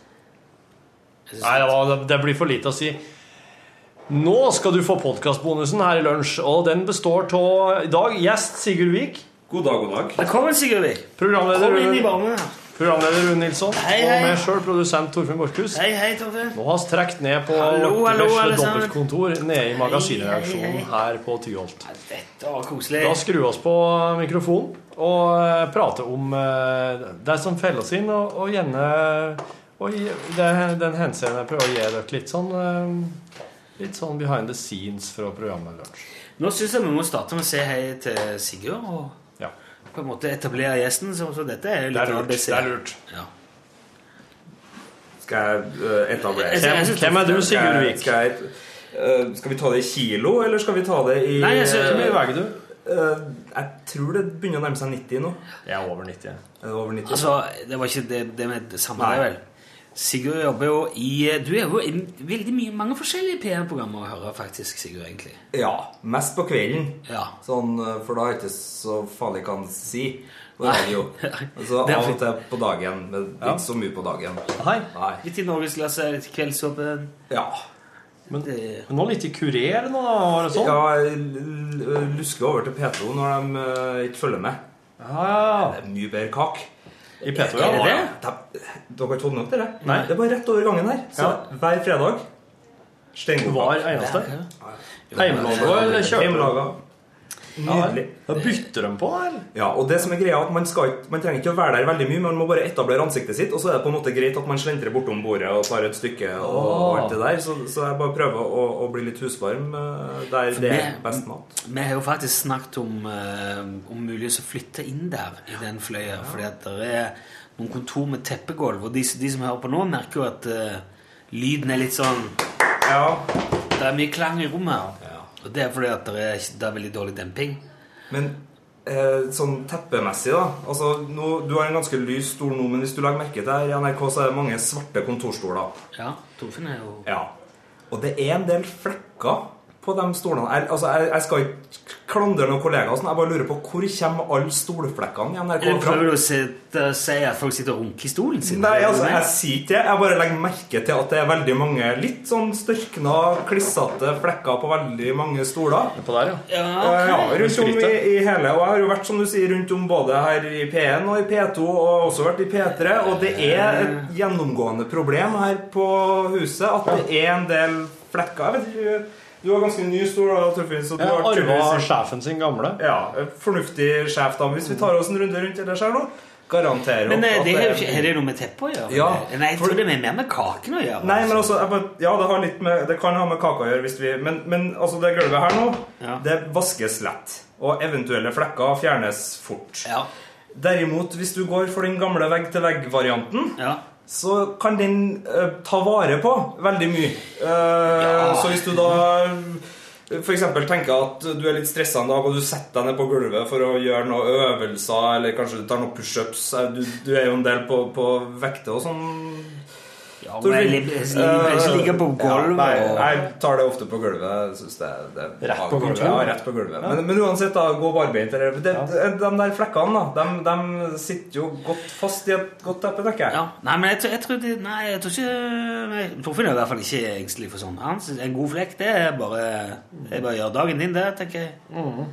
B: Nei, det, var, det blir for lite å si. Nå skal du få podkastbonusen her i lunsj, og den består av i dag gjest Sigurd Vik.
F: God dag, god dag.
A: Velkommen, Sigurdvik.
B: Programleder
A: Kom inn i
B: Rune,
A: varmen. her.
B: programleder Rune Nilsson
A: Hei, hei.
B: og meg sjøl, produsent Torfinn Borchhus.
A: Hei, hei, Torfinn.
B: Nå har vi trukket ned på
A: Hallo,
B: vårt
A: hallo, alle
B: vesle
A: sammen.
B: dobbeltkontor nede i
A: Hei, hei,
B: magasinreaksjonen
A: hei.
B: her på Tyholt.
A: Dette var koselig.
B: Da skrur vi oss på eh, mikrofonen og eh, prater om eh, det som feller oss inn, og, og gjerne og i det, den henseende prøver å gi dere litt sånn eh, Litt sånn behind the scenes fra programmet Lunsj.
A: Nå syns jeg vi må starte med å si hei til Sigurd og
B: Ja.
A: på en måte etablere gjesten. Så, så dette er jo
B: Det
A: litt
B: er lurt.
A: ABC.
B: det er lurt.
A: Ja.
L: Skal jeg eh, etablere
A: Jeg- jeg synes-
B: Hvem er du, Sigurd
L: Skal, jeg-
B: Vik?
L: skal, jeg, eh, skal vi ta det i kilo, eller skal vi ta det i
A: Nei, jeg synes-
B: Hvor mye
L: eh,
B: veier du?
L: eh, Jeg tror det begynner å nærme seg 90 nå.
B: Jeg er over 90.
L: Er det over 90?
A: Altså, det var ikke det, det med det samme,
L: Nei.
A: det vel? Sigurd jobber jo i Du er jo i veldig mye, mange forskjellige PR-programmer å høre, faktisk, Sigurd, egentlig.
L: Ja, mest på kvelden.
A: Ja.
L: Sånn, eh, for da er det ikke så farlig hva han sier. På
A: Nei.
L: radio. Altså,
A: Det er
L: av og
A: fint.
L: til på dagen, men
A: Ja.
L: ikke så mye på dagen.
A: Hei. Litt i norgesklasse, litt i kveldsåpen.
L: Ja.
A: Men det
L: Nå litt i kurer nå, var det sånn? Ja, jeg l- lusker over til P2 når de eh, ikke følger med. Det er mye bedre kak. I
I: P2, ja.
L: De, dere har ikke fått nok til det?
I: Nei.
L: Det er bare rett over gangen her. Så hver fredag Steingodkak.
I: Hver eneste.
L: Ja.
I: Hjemmelaga eller kjøper?
L: Hjemmelaga. Nydelig.
I: Da bytter de på, eller?
L: Ja, og det som er greia er at man, skal, ikke- man trenger ikke å være der veldig mye, man må bare etablere ansiktet sitt, og så er det på en måte greit at man slentrer bortom bordet og tar et stykke og, og alt det der. Så, så jeg bare prøver å, å bli litt husvarm eh, der
A: For
L: det er
A: meg-
L: best mat.
A: Vi har jo faktisk snakket om eh, Om mulig å flytte inn der I den fløya Fordi at det er noen kontor med teppegolv Og de, de som hører på nå merker jo at eh, Lyden er litt sånn Det er mye klang i rommet her Og det er fordi at det er, ikke- det er veldig dårlig demping
L: Men eh, sånn teppemessig, da altså, nå, Du har en ganske lys stol nå, men hvis du legger merke til her i NRK, så er det mange svarte kontorstoler.
A: Ja, Torfinn er jo
L: Ja. Og det er en del flekker på de stolene. Jeg, altså, jeg, jeg skal ikke klandre noen kollegaer, og sånn, jeg bare lurer på hvor kommer alle stolflekkene i NRK
A: Eller
L: fra?
A: prøver du å si, å si at folk sitter og runker i stolen sin?
L: Nei, altså, jeg sier ikke det. Jeg bare legger merke til at det er veldig mange litt sånn størkna, klissete flekker på veldig mange stoler.
I: På der,
A: ja.
L: Eh, ja, rundt om i, i hele. Og jeg har jo vært som du sier, rundt om både her i P1 og i P2, og også vært i P3. Og det
A: Eh.
L: er et gjennomgående problem her på huset at det er en del flekker. Jeg vet ikke, du har ganske ny stol, da, Torfinn. så du
I: Jeg
L: har
I: arva
L: tydeligvis-
I: sjefen sin gamle.
L: Ja, fornuftig sjef, da. Hvis vi tar oss en runde rundt ellers her nå, garanterer
A: Men eh,
L: at
A: det
L: det
A: er
L: er-
A: jo ikke, er det noe med teppet å gjøre? Eh,
L: Ja,
A: Nei, jeg tror det er mer med kaken å gjøre
L: Nei, men altså, jeg, bare- ja, det, har litt med, det kan ha med kaka å gjøre, hvis vi, men, men altså, det gulvet her nå, det vaskes lett. Og eventuelle flekker fjernes fort. Derimot, hvis du går for den gamle vegg-til-vegg-varianten, så kan den eh, ta vare på veldig mye. Eh, Så hvis du da for eksempel tenker at du er litt stressa en dag, og du setter deg ned på gulvet for å gjøre noen øvelser, eller kanskje du tar noen pushups Eh, du, du er jo en del på, på vekter og sånn.
A: Ja, men jeg ligger- jeg ligger- jeg ligger på gulvet
L: Nei,
A: og-
L: jeg tar det ofte på gulvet. Jeg synes det, det er
I: Rett på gulvet?
L: Ja, rett på gulvet.
I: Ja.
L: Men, men uansett, da, gå barbeint. eller- det- De, de der flekkene, da, de, de sitter jo godt fast i et godt teppe, tenker jeg.
A: Nei, men jeg tror, jeg tror, det, nei, jeg tror ikke nei, Torfinn er i hvert fall ikke engstelig for sånn. Han synes En god flekk, det er bare Det er bare å gjøre dagen din, det, tenker jeg.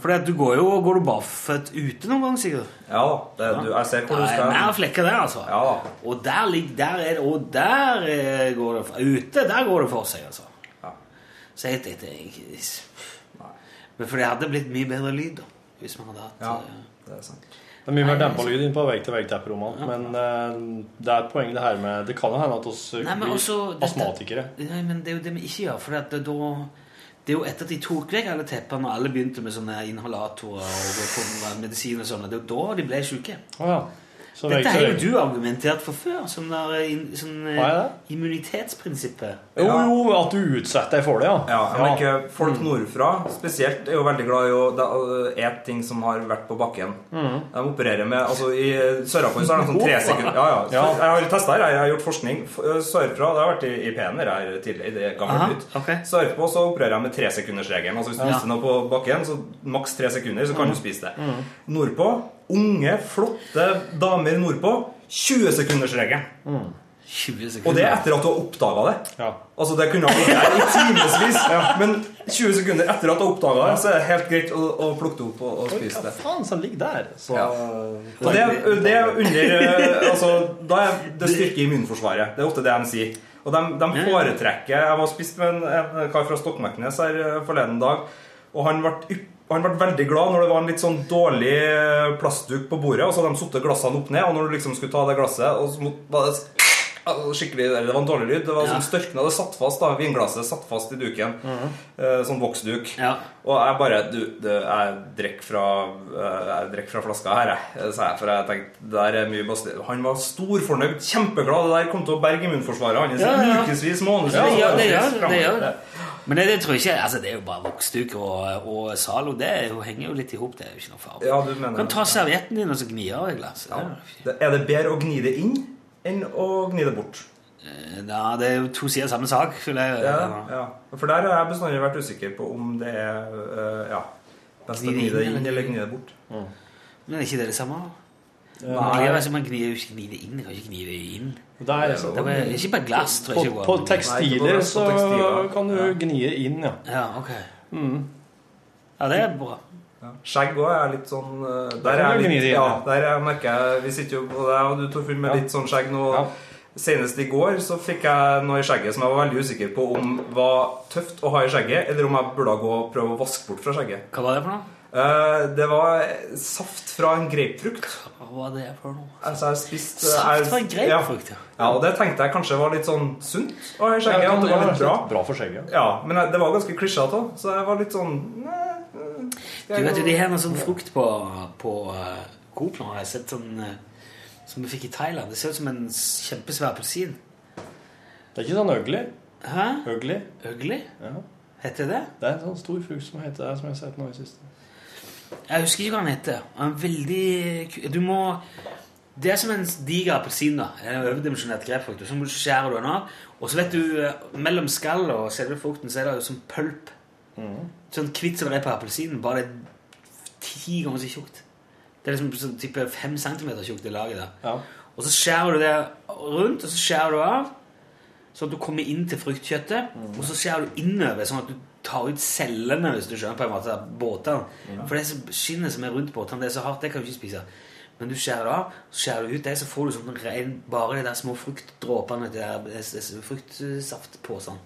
A: Fordi at du går jo Går du barføtt ute noen gang, Sigurd?
L: Ja da. Det, du, jeg ser hvor du
A: Det
L: skal.
A: er mer flekker der, altså. Og der ligger der er det, Og der eh, går det for- Ute, der går det for seg, altså. Så jeg tenkte jeg, Men For det hadde blitt mye bedre lyd, da. Hvis man hadde hatt eh,
I: Ja,
L: det er sant.
I: Det er mye mer dempa lyd inn på vegg-til-vegg-tepp-rommene. Men eh, det er et poeng det her med Det kan jo hende at oss eh,
A: Nei, men
I: blir
A: også- dette-
I: astmatikere.
A: Nei, men det er jo det vi ikke gjør. For at det, da, det er jo etter at de tok vekk alle teppene, og alle begynte med sånne inhalatorer og det kom medisin og sånn, og det er jo da de ble syke.
I: Så
A: Dette
I: vegg-til-vegg-
A: har jo du argumentert for før, som der, eh, in, sånn, eh,
I: Har jeg det?
A: immunitetsprinsippet.
I: Jo, jo, at du utsetter deg for det, ja.
L: Ja, jeg merker Folk nordfra spesielt er jo veldig glad i å da- et ting som har vært på bakken.
I: Mhm.
L: De opererer med altså I sørafor så er det sånn tre sekunder Ja, ja.
I: Ja.
L: Jeg har testa her. Jeg har gjort forskning. F- eh, Sørfra Det har vært i, i PN-er her tidligere. i det
A: Aha,
L: gamle nytt. Sørpå så opererer jeg med tresekundersregelen. Altså hvis du
A: Ja.
L: mister noe på bakken, så maks tre sekunder, så kan
I: Mhm.
L: du spise det.
I: Mhm.
L: Nordpå unge, flotte damer nordpå 20-sekundersregelen.
A: 20 sekunder.
L: Og det er etter at du har oppdaga det.
I: Ja.
L: Altså Det kunne ha vært der i timevis, men 20 sekunder etter at du har oppdaga det, så er det helt greit å, å plukke det opp og, og spise det.
I: Faen, så ligger der. Så,
L: Ja. Og det, det er under eh, Altså, da er det styrke immunforsvaret. Det er ofte det de sier. Og de, de foretrekker Jeg var spist med en, en kar fra Stokmarknes her eh, forleden dag, og han ble ypp- han ble veldig glad når det var en litt sånn dårlig eh, plastduk på bordet, og så hadde de satt glassene opp ned, og når du liksom skulle ta det glasset og så måtte, var det s- skikkelig, eller Det var en dårlig lyd. Det var sånn størkna. Det satt fast, da. Vinglasset satt fast i duken. Eh, Sånn voksduk. Og jeg bare du, du, Jeg drikker fra eh, Jeg drikker fra flaska her, jeg, eh, sa jeg. For jeg tenkte der er mye basti Han var storfornøyd, kjempeglad. Det der kom til å berge immunforsvaret hans.
A: Ja, ja, ja.
L: Ukevis,
A: Ja,
L: månedsvis.
A: ja, det
L: årevis
A: gjør det, det
L: fremover.
A: gjør det. Men det, det tror jeg ikke altså, Det er jo bare voksduker og, og Zalo. Det er jo, henger jo litt i hop. Det er jo ikke noe farlig.
L: Ja, du mener
A: Du kan ta servietten din og så gni av i glasset.
L: Er det bedre å gni det inn enn å gni det bort.
A: Ja, det er jo to sider av samme sak. Skulle jeg,
L: Ja, ja. For der har jeg bestandig vært usikker på om det er eh, ja, best å
A: Gni det
L: gni det
A: inn,
L: inn
A: eller?
L: eller gni det bort.
A: Men er ikke det det samme?
L: Ja.
A: Man, kan ikke- altså, man gnir jo ikke gnir det inn. Man kan ikke gni det inn.
I: Det er sant.
A: Det er ikke bare glass, tror jeg. ikke
I: På,
A: går
I: på
A: an å gni.
I: tekstiler så kan du gnie inn, ja.
A: Ja, ok.
I: Mm.
A: Ja, det er bra.
L: Skjegg òg er litt sånn eh,
I: Der
L: Der
I: kan
L: er
I: du
L: jeg
I: gni
L: litt
I: det inn,
L: Ja,
I: ja.
L: der jeg merker jeg Vi sitter jo på det, og du, Torfinn, med litt sånn skjegg nå. Senest i går så fikk jeg noe i skjegget som jeg var veldig usikker på om var tøft å ha i skjegget, eller om jeg burde gå og prøve å vaske bort fra skjegget. Eh,
A: Hva var det for noe?
L: det var saft fra en grapefrukt.
A: Hva var det for noe?
L: Altså, jeg har spist
A: Saft
L: jeg-
A: fra en grapefrukt,
L: ja. ja. Og det tenkte jeg kanskje var litt sånn sunt å ha i
I: Ja,
L: skjegget. At det var
I: det
L: litt
I: var
L: bra.
I: bra for skjegget.
L: Ja, Men jeg- det var ganske klisjete òg, så jeg var litt sånn nei, eh, skal
A: Du
L: jeg
A: vet jo,
L: gå-
A: de har noe sånn frukt på, på eh, Coop nå. Jeg har sett sånn eh, som vi fikk i Thailand. Det ser ut som en s- kjempesvær appelsin.
I: Det er ikke sånn ugly.
A: Hæ?
I: Ugly?
A: Ugly?
I: Ja.
A: Heter det?
I: Det er en sånn stor frukt som heter som jeg har sett nå i siste.
A: Jeg husker ikke hva den heter. Han er veldig ku- Du må Det er som en diger appelsin. da En overdimensjonert grepfrukt. Og Så må du skjære den av. Og så vet du, eh, mellom skallet og selve frukten så er det jo som pølp. Sånn kvitt som det er på appelsinen, bare det er ti ganger så tjukt. Det er liksom sånn type fem centimeter tjukt det laget der. Og så skjærer du det rundt, og så skjærer du av, sånn at du kommer inn til fruktkjøttet, og så skjærer du innover, sånn at du tar ut cellene, hvis du skjønner, på en måte, av båtene. For det som skinnet som er rundt båtene, det er så hardt, det kan du ikke spise. Men du skjærer det av, så skjærer du ut det, så får du sånn ren, bare de der små fruktdråpene, de der eh, s- s- fruktsaftpåsene.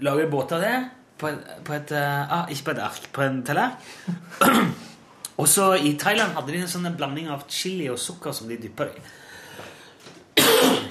A: Lager båt av det på et, på et eh, ah, Ikke på et ark, på en tallerken. og så i Thailand hadde de en sånn blanding av chili og sukker som de dyppa i.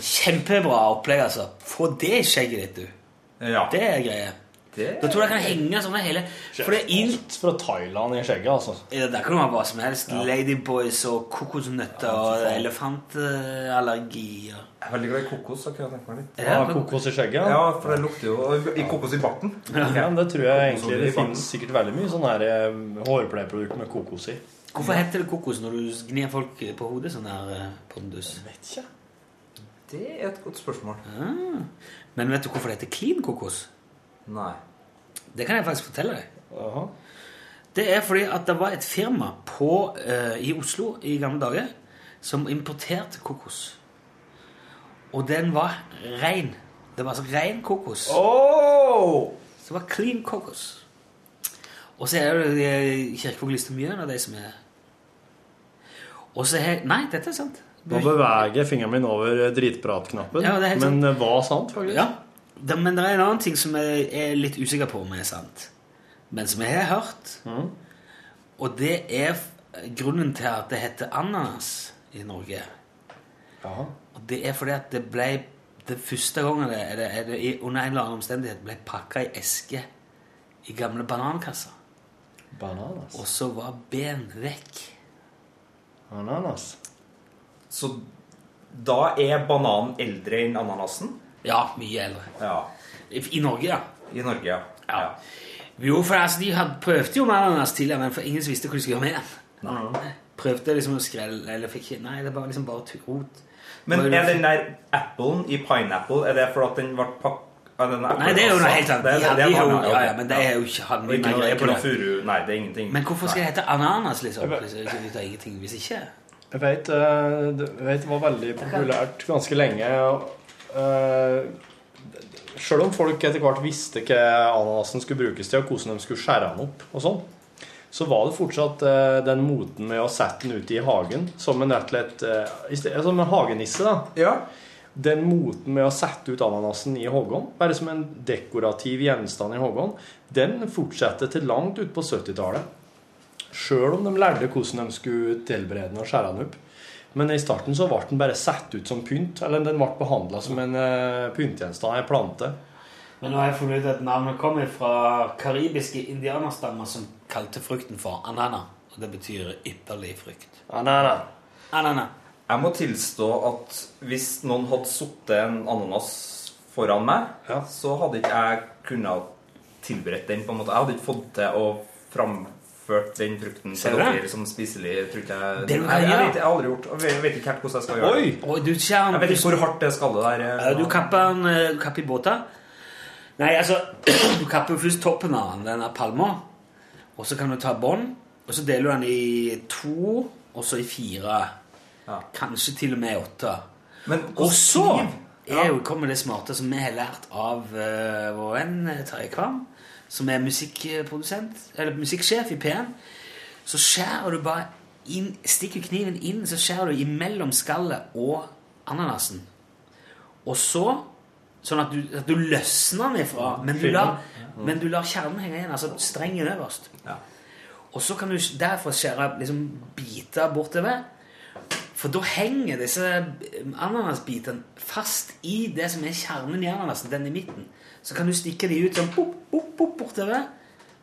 A: Kjempebra opplegg, altså. Få det i skjegget ditt, du. Det er greie. Da tror jeg det kan henge sånn med hele For det er
I: Alt fra Thailand i skjegget, altså.
A: ja, Der kan du ha hva som helst. Ladyboys og kokosnøtter og elefantallergier.
L: Jeg er veldig glad i kokos. så kan jeg tenke meg litt
A: Ja,
I: Ah, kokos i skjegget?
L: Ja, for det lukter jo og i kokos i barten.
I: Ja, men Det tror jeg egentlig
L: Kokosolje i
I: det
L: barten.
I: finnes sikkert veldig mye sånn her eh, hårpleieprodukter med kokos i.
A: Hvorfor heter det kokos når du gnir folk på hodet sånn her eh, pondus?
I: Vet ikke.
L: Det er et godt spørsmål.
A: Ah. Men vet du hvorfor det heter clean kokos?
L: Nei.
A: Det kan jeg faktisk fortelle deg. Det er fordi at det var et firma på, eh, i Oslo i gamle dager som importerte kokos. Og den var rein. Det var altså rein kokos. Så det var clean kokos. Og så er det eh, Kirkevåg Lystemjøen og de som er Og så har Nei, dette er sant.
I: Nå beveger fingeren min over eh, dritpratknappen,
A: Ja, det er helt
I: men eh, var sant, faktisk.
A: Ja, det, men det er en annen ting som jeg er litt usikker på om er sant. Men som jeg har hørt. Og det er f- grunnen til at det heter ananas i Norge. Og det er fordi at det ble det første gangen det, er det, er det i, under en eller annen omstendighet ble pakka i eske i gamle banankasser.
I: Bananas.
A: Og så var ben vekk.
I: Ananas.
L: Så da er bananen eldre enn ananasen?
A: Ja, mye eldre. I, i Norge, ja.
L: I Norge, ja.
A: Jo, for altså, de hadde prøvde jo med ananas tidligere, men for ingen visste hva de skulle gjøre med den. Prøvde liksom å skrelle Eller fikk ikke Nei, det var liksom bare tu- rot.
L: Men
A: Det var
L: er
A: jo-
L: den der applen i pineapple Er det fordi at den ble pakket
A: Nei, det er jo noe helt annet. Ja, de har jo- ja, ja, men det er jo ikke- hadde vi
L: ikke
A: noe
L: noe
A: greie på
L: ikke noe
A: det.
L: furu Nei, det er ingenting.
A: Men hvorfor skal
L: Nei.
A: det hete ananas, liksom?
I: Jeg vet-
A: Hvis, hvis, det er ingenting, hvis ikke
I: Jeg vet, eh, det- jeg vet det var veldig populært ganske lenge. Uh, Sjøl om folk etter hvert visste hva ananasen skulle brukes til, og hvordan de skulle skjære den opp, og sånn, så var det fortsatt eh, den moten med å sette den ute i hagen som en rett og slett eh, i sted- Som en hagenisse, da. Den moten med å sette ut ananasen i hoggorm, bare som en dekorativ gjenstand i hoggorm, den fortsetter til langt ut på 70-tallet. Sjøl om de lærte hvordan de skulle tilberede den og skjære den opp. Men i starten så ble den bare satt ut som pynt. Eller den ble behandla som en eh, pyntegjenstand, en plante.
A: Men nå har jeg funnet ut at navnet kommer fra karibiske indianerstammer som kalte frukten for anana. Og det betyr ypperlig frukt.
I: Anana.
A: Anana.
L: Jeg må tilstå at hvis noen hadde sittet en ananas foran meg, så hadde ikke jeg kunnet tilberedt den. på en måte. Jeg hadde ikke fått til å framføre oppført den frukten
A: Ser
L: til
A: du det?
L: dere som spiselig, tror ikke
A: Det
L: jeg
A: du kan
L: jeg, jeg,
A: gjøre.
L: vet, jeg har aldri gjort og jeg vet ikke helt hvordan jeg skal gjøre
A: Oi!
L: det.
A: Oi, du, kjæren,
L: Jeg vet ikke hvor hardt det skallet der er.
A: Ja, Du kapper en eh, du kapper i båter. Nei, altså Du kapper først toppen av den, denne palma, og så kan du ta bånd, og så deler du den i to, og så i fire. Kanskje til og med i åtte. og så er jo, kommer det smarte som vi har lært av eh, vår venn eh, Terje Kvam, som er musikkprodusent, eller musikksjef i P1. Så skjærer du bare inn, stikker kniven inn, så skjærer du imellom skallet og ananasen. Og så Sånn at du, at du løsner den ifra, men du, lar, men du lar kjernen henge igjen. Altså strengen øverst. Og så kan du derfra skjære liksom, biter bortover. For da henger disse ananasbitene fast i det som er kjernen i ananasen, den i midten. Så kan du stikke de ut sånn pop, pop, pop, bortover.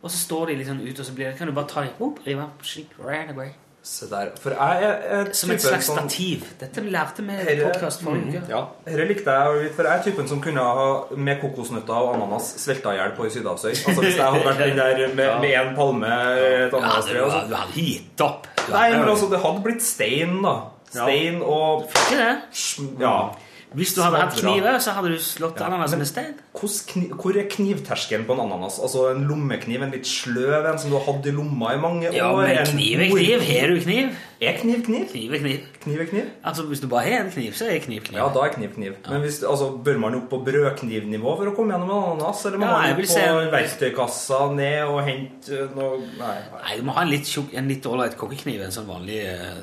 A: Og så står de litt sånn ut, og så blir det, kan du bare ta dem opp, rive opp, slik, right away.
L: Se der. For jeg er er
A: Som et
L: typen
A: slags
L: som-
A: stativ. Dette lærte vi i
L: Herre-
A: podkast forrige
L: Mhm,
A: uke.
L: Ja, Dette likte jeg jo litt, for jeg er typen som kunne ha med kokosnøtter og ananas svelta i hjel på i Sydhavsøy. Altså Hvis jeg hadde vært den der med, med en palme, eh, et ananastre og
A: Ja,
L: sånn.
A: du hadde gitt opp. Du
L: Nei,
A: hadde-
L: men altså, det hadde blitt stein, da. Stein og Mm.
A: Ikke det?
L: Ja.
A: Hvis du hadde hatt kniver, så hadde du slått ananas med stein.
L: Hvor er knivterskelen på en ananas? Altså En lommekniv, en litt sløv en som du har hatt i lomma i mange år?
A: Ja, men
L: en
A: kniv er
L: mor-
A: kniv. Har du kniv?
L: Er kniv kniv?
A: Kniv er kniv.
L: Kniv er kniv?
A: Altså, Hvis du bare har en kniv, så er kniv kniv.
L: Ja, da er kniv kniv. Men hvis, altså, bør man opp på brødknivnivå for å komme gjennom en ananas? Eller må
A: Ja, jeg
L: man
A: vil
L: opp på
A: se en-
L: verktøykassa ned og hente eh, noe Nei.
A: Nei, du må ha en litt tjukk, en litt ålreit kokkekniv. En sånn vanlig eh,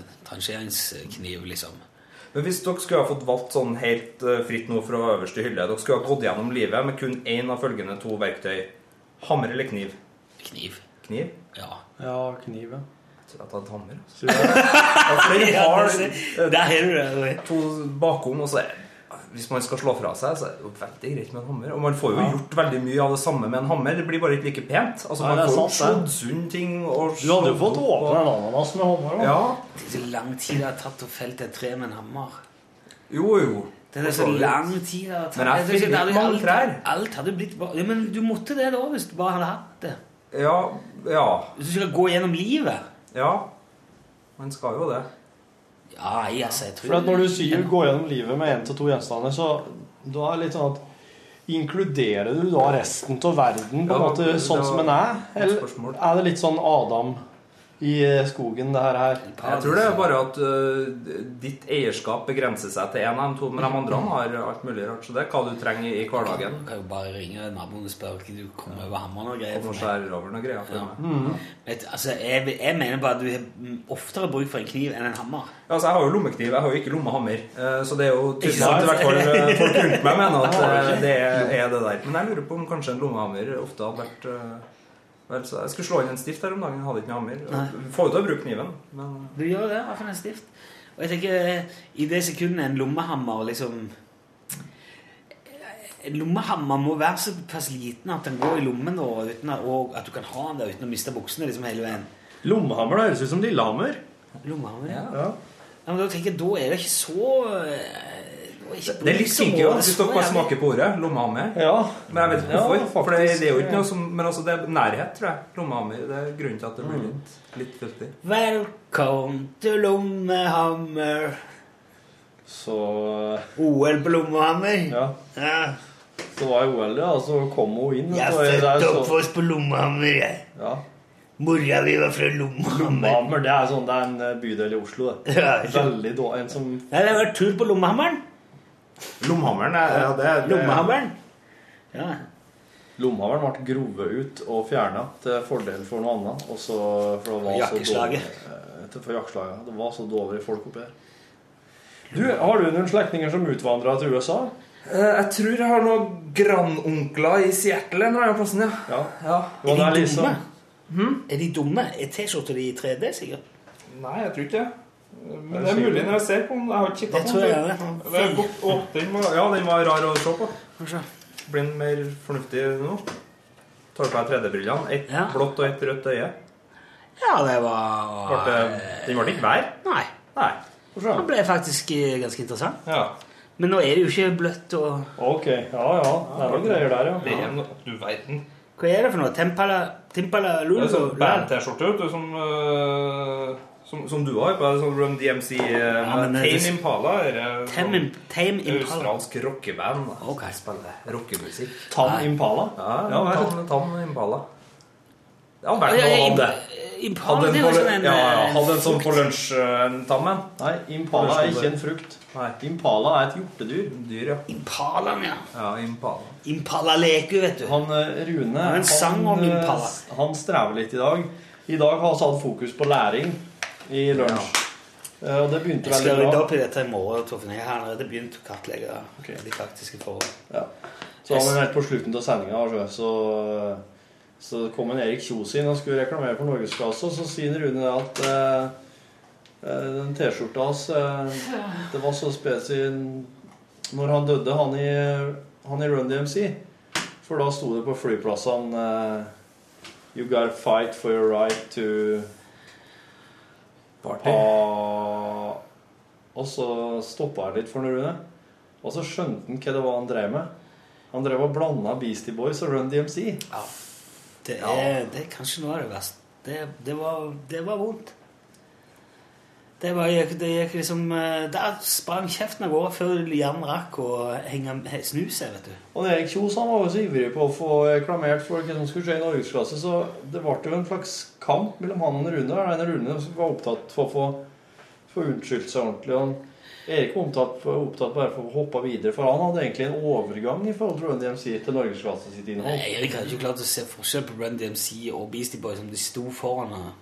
A: trangeringskniv, liksom.
L: Men hvis dere skulle ha fått valgt sånn helt eh, fritt nå fra øverste hylle Dere skulle ha gått gjennom livet med kun én av følgende to verktøy. Hammer eller kniv?
A: Kniv.
L: Kniv?
A: Ja.
L: Ja, kniv, ja. Jeg tror jeg tar en hammer. altså. Ja, for den
A: Ja,
L: har
A: det- Der har du det.
L: to bakom, og så er hvis man skal slå fra seg, så er det jo veldig greit med en hammer. Og man får jo
A: Ja.
L: gjort veldig mye av det samme med en hammer. Det blir bare ikke like pent. Altså,
I: Nei,
L: man
I: det er
L: får jo
I: sant,
L: slått sund ting og
I: Du hadde jo fått
L: slått-
I: åpna en ananas med hånda. da.
L: Ja.
A: Det er så lang tid det har tatt å felle et tre med en hammer.
L: Jo, jo.
A: Det er så lang tid det har tatt.
L: Men
A: Det er
L: jeg
A: så-
L: fikk
A: det hadde-
L: mange
A: alt- Alt hadde blitt bare- ja, Men du måtte det da, hvis du bare hadde hatt det.
L: Ja. ja.
A: Hvis du skal gå gjennom livet.
L: Ja. Man skal jo det.
A: Ja, jeg, altså, jeg tror
I: For at når du sier 'gå gjennom livet med én til to gjenstander', så da er det litt sånn at Inkluderer du da resten av verden på en
L: Ja,
I: måte
L: det
I: sånn
L: var
I: som den er?
L: et
I: Eller
L: spørsmål.
I: er det litt sånn Adam i eh, skogen, det her? her?
L: Jeg tror det er bare at ø, ditt eierskap begrenser seg til én av de to, men de andre har alt mulig rart. Så det er hva du trenger i hverdagen.
A: Du kan jo bare ringe naboen og spørre om du kommer over hammeren og greier.
L: Og få
A: for meg.
L: skjære over noen greier. for
A: Ja.
L: meg.
A: Vet, du, altså, jeg, jeg mener bare at du har mm, oftere bruk for en kniv enn en hammer.
L: Ja, Altså, jeg har jo lommekniv, jeg har jo ikke lommehammer. eh, Så det er jo
A: Ikke
L: tydelig
A: sant?
L: at i hvert fall eh, folk rundt meg mener at eh, det er er det der. Men jeg lurer på om kanskje en lommehammer ofte hadde vært eh, Vel, så Jeg skulle slå inn en stift her om dagen, hadde ikke med hammer.
A: Nei.
L: Får jo til å bruke kniven, men
A: Du gjør det, hva for en stift? Og jeg tenker, eh, i det sekundet en lommehammer liksom En lommehammer må være såpass liten at den går i lommen, og, uten at, og at du kan ha den der uten å miste buksene liksom hele veien.
I: Lommehammer det høres ut som Lillehammer.
A: Lommehammer, ja.
I: Ja.
A: Ja, men da tenker jeg, da er det ikke så eh, da ikke
L: Det er litt
A: så-
L: kinkig også, hvis
A: så
L: dere bare
A: jævlig-
L: smaker på ordet. Lommehammer. Men jeg vet ikke
I: Ja,
L: hvorfor. for det,
I: faktisk.
L: det er jo ikke noe som Men altså, det er nærhet, tror jeg. Lommehammer. Det er grunnen til at det blir
I: Mm.
L: litt, litt filtig.
A: Velkommen til Lommehammer.
I: Så
A: OL på Lommehammer.
I: Ja.
A: Ja.
I: Så var jo OL, ja, og så kom hun inn.
A: Jeg
I: og det
A: er
I: er
A: født og
I: så-
A: oppvokst på Lommehammer, jeg.
I: Ja.
A: Mora mi var fra Lommehammer.
I: Lommehammer, det er sånn, det er en eh, bydel i Oslo, det.
A: Ja, ikke sant?
I: Veldig dårlig. En som
A: Nei, det har vært tur på Lommehammeren.
L: Lommehammeren er ja, det, det
A: Lommehammeren. Ja.
I: Lommehammeren ble grovet ut og fjerna til fordel for noe annet. Og så, for det var
A: Jakkeslaget.
I: Så dårlig, eh, til- for jakkeslaget. Det var så dårlige folk oppi her. Du, har du noen slektninger som utvandra til USA?
L: Eh, Jeg tror jeg har noen grandonkler i Seattle eller noe annet plassen, ja.
I: Ja.
A: Er
I: det er
A: de
I: liksom-
A: dumme? Er de dumme? Er T-skjorta de i 3D, sikkert?
L: Nei, jeg tror ikke det. Men
I: det er mulig når
L: jeg ser på den. Jeg har ikke
A: Det tror jeg er det.
L: den var, ja, den var rar å se på. Blir den mer fornuftig nå? Tar på deg 3D-brillene. Ett blått og ett rødt øye.
A: Ja, det var
L: Ble det- Den ble ikke hver?
A: Nei.
L: Nei.
A: Det ble faktisk eh, ganske interessant.
L: Ja.
A: Men nå er det jo ikke bløtt og
I: Ok. Ja, ja. Det er noen greier der, ja.
L: Det er no- Du verden.
G: Hva er det for noe? Tempala, Timpala
L: Det er sånn
G: Lulu?
L: band-T-skjorte vet du, som, eh, som, som du har på deg. Sånn Run DMC eh,
G: men det-
L: Tame Impala. er, eh,
G: Tame Im-
L: sånn
G: Tame Impala.
L: Australsk rockeband. Okay. Spiller rockemusikk.
G: Tam Nei. Impala?
L: Ja,
G: Ja, vel.
L: Tam, Tam Impala. Det hadde vært
G: Ja,
L: noe
G: ja,
L: om det.
G: Impala,
L: Hadde
G: det er
L: på
G: jo
L: lø-
G: sånn en,
L: ja, ja,
G: eh,
L: Hadde en sånn på
G: frukt.
L: lunsj-tammen.
I: Nei, impala er ikke en frukt. Impala er et hjortedyr.
L: Dyr, ja.
G: Impalaen, ja.
L: ja impala.
G: Impala leker, vet du.
I: Han eh, Rune
G: Han sang om
I: eh,
G: Impala.
I: s- Han strever litt i dag. I dag har vi hatt fokus på læring i lunsj. Eh, Og det begynte
G: Jeg skal
I: veldig
G: rydde
I: bra.
G: opp i dette i morgen. Torfinn. Jeg har allerede begynt å kartlegge de faktiske forhold.
I: Så han var helt på slutten av sendinga, så, så kom en Erik Kjos inn og skulle reklamere for Norgesklasse, og så sier Rune det at eh, eh, den T-skjorta hans eh, Det var så spesi når han døde, han i, han i Run DMC. For da sto det på flyplassene eh, You gotta fight for your right to Party. og så stoppa han litt for Rune. Og så skjønte han hva det var han drev med. Han drev og blanda Beastie Boys og Run DMC.
G: Ja. Det er, det er kanskje noe av det verste. Det, det, var, det var vondt. Det, var, det gikk liksom eh, Der sprang kjeften av gårde før hjernen rakk å henge he- snu seg, vet du.
I: Og Erik Kjos han var jo så ivrig på å få reklamert for hva som skulle skje i norgesklasse, så det ble jo en slags kamp mellom han og Rune. Der den Rune som var opptatt for å få, få unnskyldt seg ordentlig. og Han, Erik var opptatt, opptatt bare for å hoppe videre, for han hadde egentlig en overgang i forhold til Run DMC til norgesklasse sitt innhold.
G: Nei, Erik hadde ikke klart å se forskjell på Run DMC og Beastie Boys som de sto foran ham.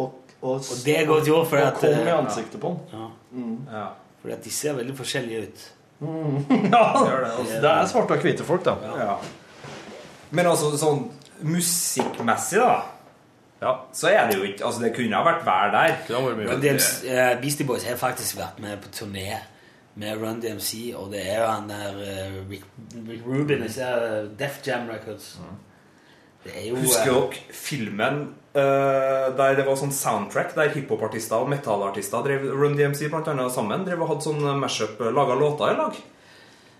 I: Og, og,
G: Og det er godt gjort, fordi
I: og
G: at,
I: kom i
G: eh,
I: ansiktet på han.
G: Ja.
I: Mm.
G: Fordi at de ser veldig forskjellige ut.
I: ja,
L: altså.
I: det er svarte og hvite folk, da.
L: Ja. Men altså, sånn musikkmessig, da, så er det jo ikke Altså, det kunne ha vært vær der.
G: Run DMC, eh, Beastie Boys har faktisk vært med på turné med Run DMC, og det er jo han der eh, Rick, Rick Rubin og uh, Def Jam Records. Det er jo eh,
L: Husker dere filmen eh, der det var sånn soundtrack der hiphopartister og metalartister drev Run DMC blant annet sammen? Drev og hadde sånn mashup, laga låter i lag?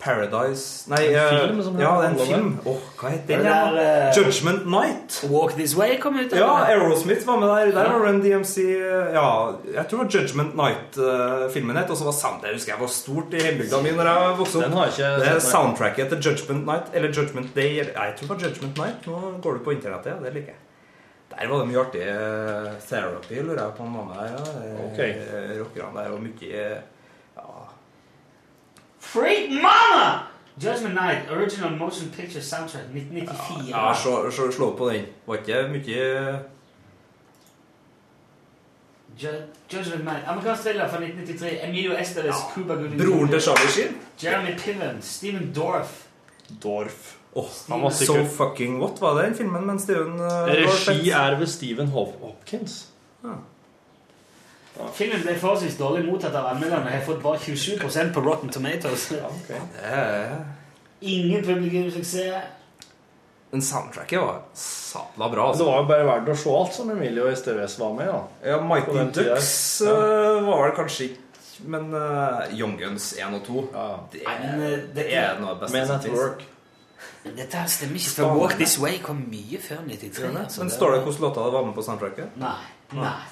L: Paradise Nei,
G: En
L: eh,
G: film som
L: ja,
G: heter
L: det er en
G: Oliver.
L: film. Åh, hva heter den?
G: Det
L: igjen, da?
G: der, eh,
L: Judgment Night.
G: Walk This Way kom ut.
L: Ja,
G: eller?
L: Aerosmith var med der. Der
G: Ja.
L: var Run DMC eh, Ja, jeg tror det var Judgment Night-filmen het. Og så var sound, det husker jeg var stort i hjembygda mi når jeg vokste opp.
I: Den har jeg ikke
L: det er
I: sett, nei.
L: soundtracket til Judgment Night eller Judgment Day eller, nei, Jeg tror det var Judgment Night. Nå går du på internettet, ja. Det liker jeg. Der var det mye artig eh, therapy, lurer jeg på om mamma der. Ja. Eh,
I: Ok.
L: eh, Rockerne der og mye eh,
G: Freak Mama! Judgment Night, original motion picture soundtrack 1994.
L: Ja, slå, slå, slå på den. Var ikke mye
G: Ju- Judgment Night, amerikansk thriller fra 1993. Emilio Estevez, Cuba Gooding
L: Broren
G: Jr.
L: til Charlie Sheen.
G: Jeremy Piven, Steven Dorff.
I: Dorf.
L: han var sikkert- So fucking what var det den filmen med Steven eh, Dorff?
I: Regi er ved Stephen Hop Hopkins.
G: Filmen ble forholdsvis dårlig mottatt av anmelderne og har fått bare 27 på Rotten Tomatoes. Ingen publikumssuksess.
L: Men soundtracket var sabla bra. altså.
I: Det var jo bare verdt å se alt som Emilio Estevez var med i. da.
L: Ja,
I: På
L: Mighty
I: den tida.
L: Ducks eh, var vel kanskje ikke Men eh, Young Guns 1 og 2 det,
G: Nei, men, eh,
L: det
G: dette-
L: er noe av det beste
I: Men
L: som
I: at
L: finnes.
I: work.
G: Dette her stemmer ikke.
L: Faen,
G: For Walk
L: nei.
G: This Way kom mye før 93.
L: Gjør det?
G: altså.
L: Men
G: Det
L: står Sånn, det
G: var-
L: hvordan låta det var med på soundtracket?
G: Nei. Nei.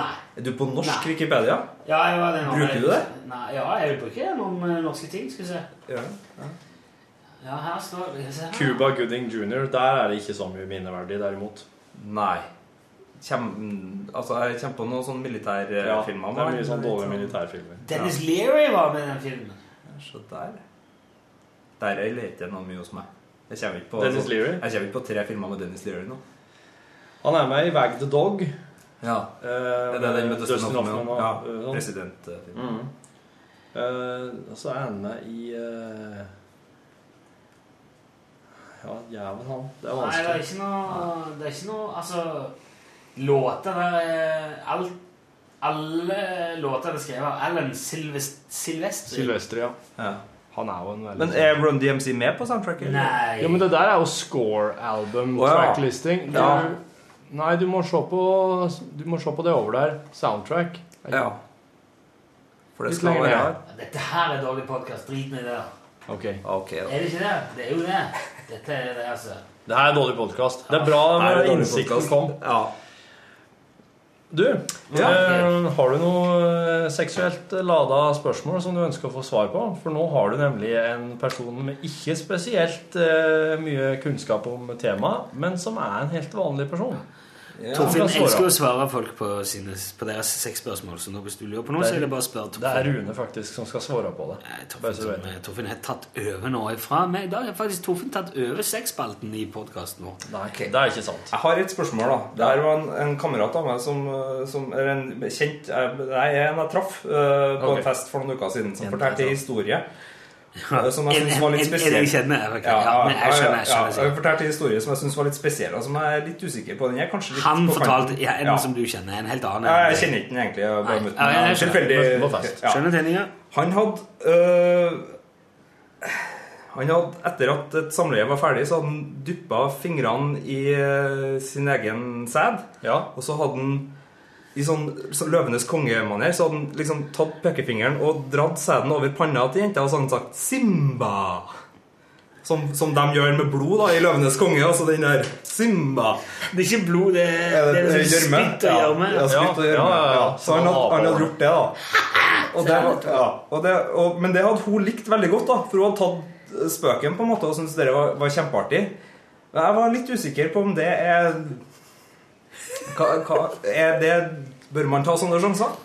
G: Nei.
L: Er du på norsk Wikipedia?
G: Ja, jeg var det nå.
L: Bruker du det?
G: Nei, ja, jeg bruker noen eh, norske ting. Skal vi se.
L: Ja.
G: Ja, her står se her.
I: Cuba Gooding jr. Der er det ikke så mye minneverdig, derimot.
L: Nei. Kjem, altså, jeg kommer på noen sånne militærfilmer.
I: Ja, det er mye sånn dårlige militærfilmer.
G: Dennis Leary var med i den filmen.
L: Så der Der er leter noe mye hos meg. Jeg kommer ikke på,
I: Dennis Leary?
L: Jeg kommer ikke på tre filmer med Dennis Leary nå.
I: Han er med i Wag the Dog.
L: Ja.
I: Eh,
L: det er den med Dustin Hoffman,
I: og-
L: ja.
I: eh, sånn.
L: Presidentfilm.
I: Mm. Eh, og så er han med i eh, Ja, jævel, han. Det er
G: Nei, det er
I: vanskelig.
G: ikke noe Det er ikke noe Altså, låtene er- alt, Alle låtene er skrevet av Alan Silvest, Silvestri.
I: Silvestri, ja.
L: Han er jo en
I: veldig
L: Men er Run DMC med på soundtracket?
G: Nei.
I: Ja, men det der er jo score-album,
L: Å, ja.
I: tracklisting. Det
L: Ja.
I: er- Nei, du må, se på, du må se på det over der. Soundtrack.
L: Ja. For det
I: Litt
L: skal
I: lenger
L: være
I: ned.
G: Dette her er dårlig podkast. Drit nå i det. da.
I: Ok.
L: Ok,
G: Er det ikke det? Det er jo det. Dette er det, altså.
I: Det her er dårlig podkast. Det er bra
L: Nei, det er
I: når
L: dårlig
I: innsikten
L: podcast.
I: kom. Du,
L: Ja.
I: eh, har du noe eh, seksuelt lada spørsmål som du ønsker å få svar på? For nå har du nemlig en person med ikke spesielt eh, mye kunnskap om temaet, men som er en helt vanlig person.
G: Torfinn
I: Som kan svare.
G: elsker å svare folk på, sine, på deres sexspørsmål, så nå hvis du lurer på noe, så er det bare å spørre
I: Det er
G: Torfinn.
I: Rune faktisk som skal svare på det. Bare så du vet.
G: Torfinn, Torfinn har tatt over nå ifra meg. I dag har faktisk Torfinn tatt over sexspalten i podkasten vår.
I: Det er ikke sant.
L: Jeg har et spørsmål, da. Det her var en, en kamerat av meg som, eh, som Eller en kjent eh, Nei, en jeg traff eh, på
G: Ok.
L: en fest for noen uker siden, som
G: En
L: fortalte
G: jeg
L: en
G: traff.
L: historie.
G: Ja.
L: eh, Som jeg
G: En-
L: synes var
G: en-
L: litt
G: en- en
L: spesiell.
G: jeg kjenner, ok. Ja, men jeg skjønner, jeg skjønner, jeg skjønner.
L: jeg fortalte en historie som jeg synes var litt spesiell, og som jeg er litt usikker på. Den er kanskje litt
G: Han
L: på kanten.
G: fortalte ja, en
L: Ja.
G: som du kjenner, en helt annen.
L: Ja, jeg kjenner ikke den egentlig. Jeg har bare
G: Nei.
L: møtt
G: Ja,
L: den.
G: jeg skjønner.
L: Tilfeldig-
G: På fest.
L: Ja.
G: Skjønner
L: Han hadde øh, Han hadde Etter at et samleie var ferdig, så hadde han duppa fingrene i øh, sin egen sæd. Og så hadde han i sånn så Løvenes kongemaner så hadde han liksom tatt pekefingeren og dratt sæden over panna til jenta, og så hadde han sagt 'Simba'. Som, som de gjør med blod da, i 'Løvenes konge'. Altså den der 'Simba'.
G: Det er ikke blod, det er,
L: det,
G: det er liksom
L: er gjørme.
G: spytt og gjørme.
L: Ja, ja, spytt og gjørme.
G: Ja, ja, Sånn ja.
L: Så han hadde, han hadde gjort det, da. Og det, var- ja, og det, og, men det hadde hun likt veldig godt, da. For hun hadde tatt eh, spøken på en måte og syntes det var, var kjempeartig. Men Jeg var litt usikker på om det er hva, hva, Er det Bør man ta sånne sjanser?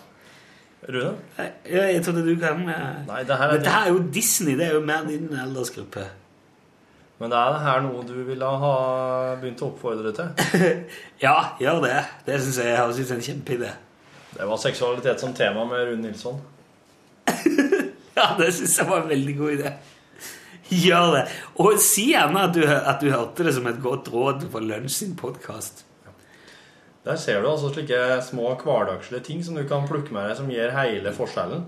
I: Rune?
G: Ja, jeg trodde du kan eh,
I: Nei, det her er
G: Dette her er jo Disney. Det er jo mer din aldersgruppe.
I: Men er det her noe du ville ha begynt å oppfordre til?
G: Ja, gjør det. Det syns jeg høres ut som en kjempeidé.
I: Det var seksualitet som tema med Rune Nilsson.
G: Ja, det syns jeg var en veldig god idé. Gjør det. Og si gjerne at du, at du hørte det som et godt råd på Lunsj sin podkast.
I: Der ser du altså slike små hverdagslige ting som du kan plukke med deg, som gjør hele forskjellen.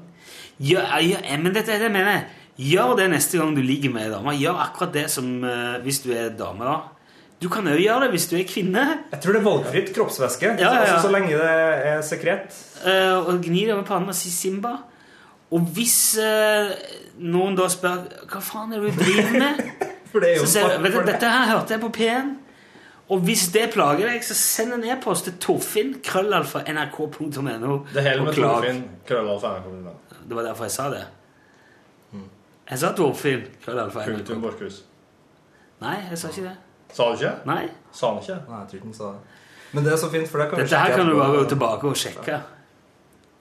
G: Gjør, ja, ja, men dette er det jeg mener. Gjør det neste gang du ligger med ei dame. Gjør akkurat det som eh, hvis du er dame. da. Du kan òg gjøre det hvis du er kvinne.
L: Jeg tror det er valgfritt kroppsvæske.
G: Ja, ja, ja.
L: Altså, så lenge det er sekret.
G: Eh, og gni det over pannen og si Simba. Og hvis eh, noen da spør Hva faen er det du driver med?
L: det er jo
G: så sier du,
L: snakk
G: vet du,
L: for det.
G: Dette her hørte jeg på P1. Og hvis det plager deg, så send en e-post til Torfinn. Krøllalfa nrk.no.
I: Det hele
G: og
I: med
G: klag.
I: Torfinn Krøllalf NRK.
G: Det var derfor jeg sa det. Jeg sa Torfinn. Krøllalfa nrk.
I: Mm. Punktum Borchhus.
G: Nei, jeg sa ikke det.
I: Sa du ikke?
G: Nei.
I: Sa han ikke?
L: Nei, jeg tror ikke han sa det. Men det er så fint, for det kan vi
G: Dette her
L: sjekke
G: kan du
L: etterpå.
G: bare gå tilbake og sjekke.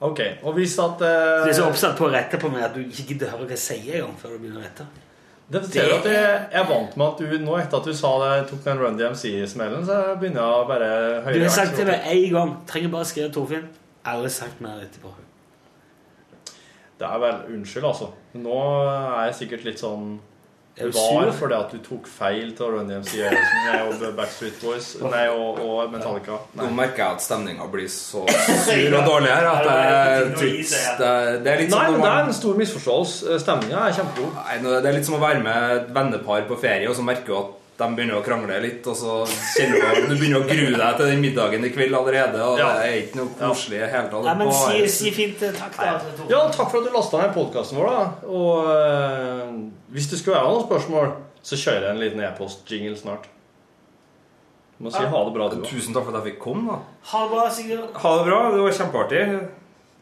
I: Ok, og hvis at eh,
G: Du er så oppsatt på å rette på meg at du ikke gidder høre hva jeg sier engang før du begynner å rette.
I: Det ser du at jeg jeg er vant med at du nå etter at du sa det, tok den Run DMC-smellen, så jeg begynner jeg å bare
G: Du
I: høyere
G: har sagt det med én gang. Trenger bare skrive Torfinn. Aldri sagt mer etterpå.
I: Det er vel Unnskyld, altså. Nå er jeg sikkert litt sånn
G: Er du
I: var
G: sur?
I: fordi at du tok feil til Run DMC Nei, og Backstreet Boys Nei, og, og Metallica.
L: Nå merker jeg at stemninga blir så
I: sur og dårlig her at jeg tyks-
L: det, er
I: Nei,
L: litt
I: men
L: som når
I: det
L: man-
I: er en stor misforståelse. Stemninga er kjempegod.
L: Nei, nå- Det er litt som å være med et vennepar på ferie, og så merker du at de begynner å krangle litt, og så kjenner du at du begynner å grue deg til den middagen i kveld allerede, og
I: Ja.
L: det er ikke noe koselig i det hele tatt.
G: Nei, men si,
L: Bare-
G: si fint eh, takk, da. til Torfinn.
I: Ja, takk for at du lasta ned podkasten vår, da. Og eh, hvis det skulle være noen spørsmål, så kjører jeg en liten e-post-jingle snart. Du må si ha det bra, du også.
L: Tusen takk for at jeg fikk komme, da.
G: Ha det bra, Sigurd.
L: Ha det bra. Det var kjempeartig.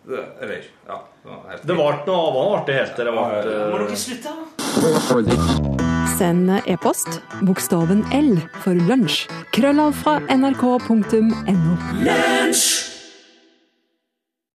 L: Det- Eller Ja. Det var helt
I: Det ble noe av han artig helt til det ble
G: Må dere slutte? da?
K: Send e-post bokstaven L for lunsj. Krøllalfra nrk.no.
E: Lunsj!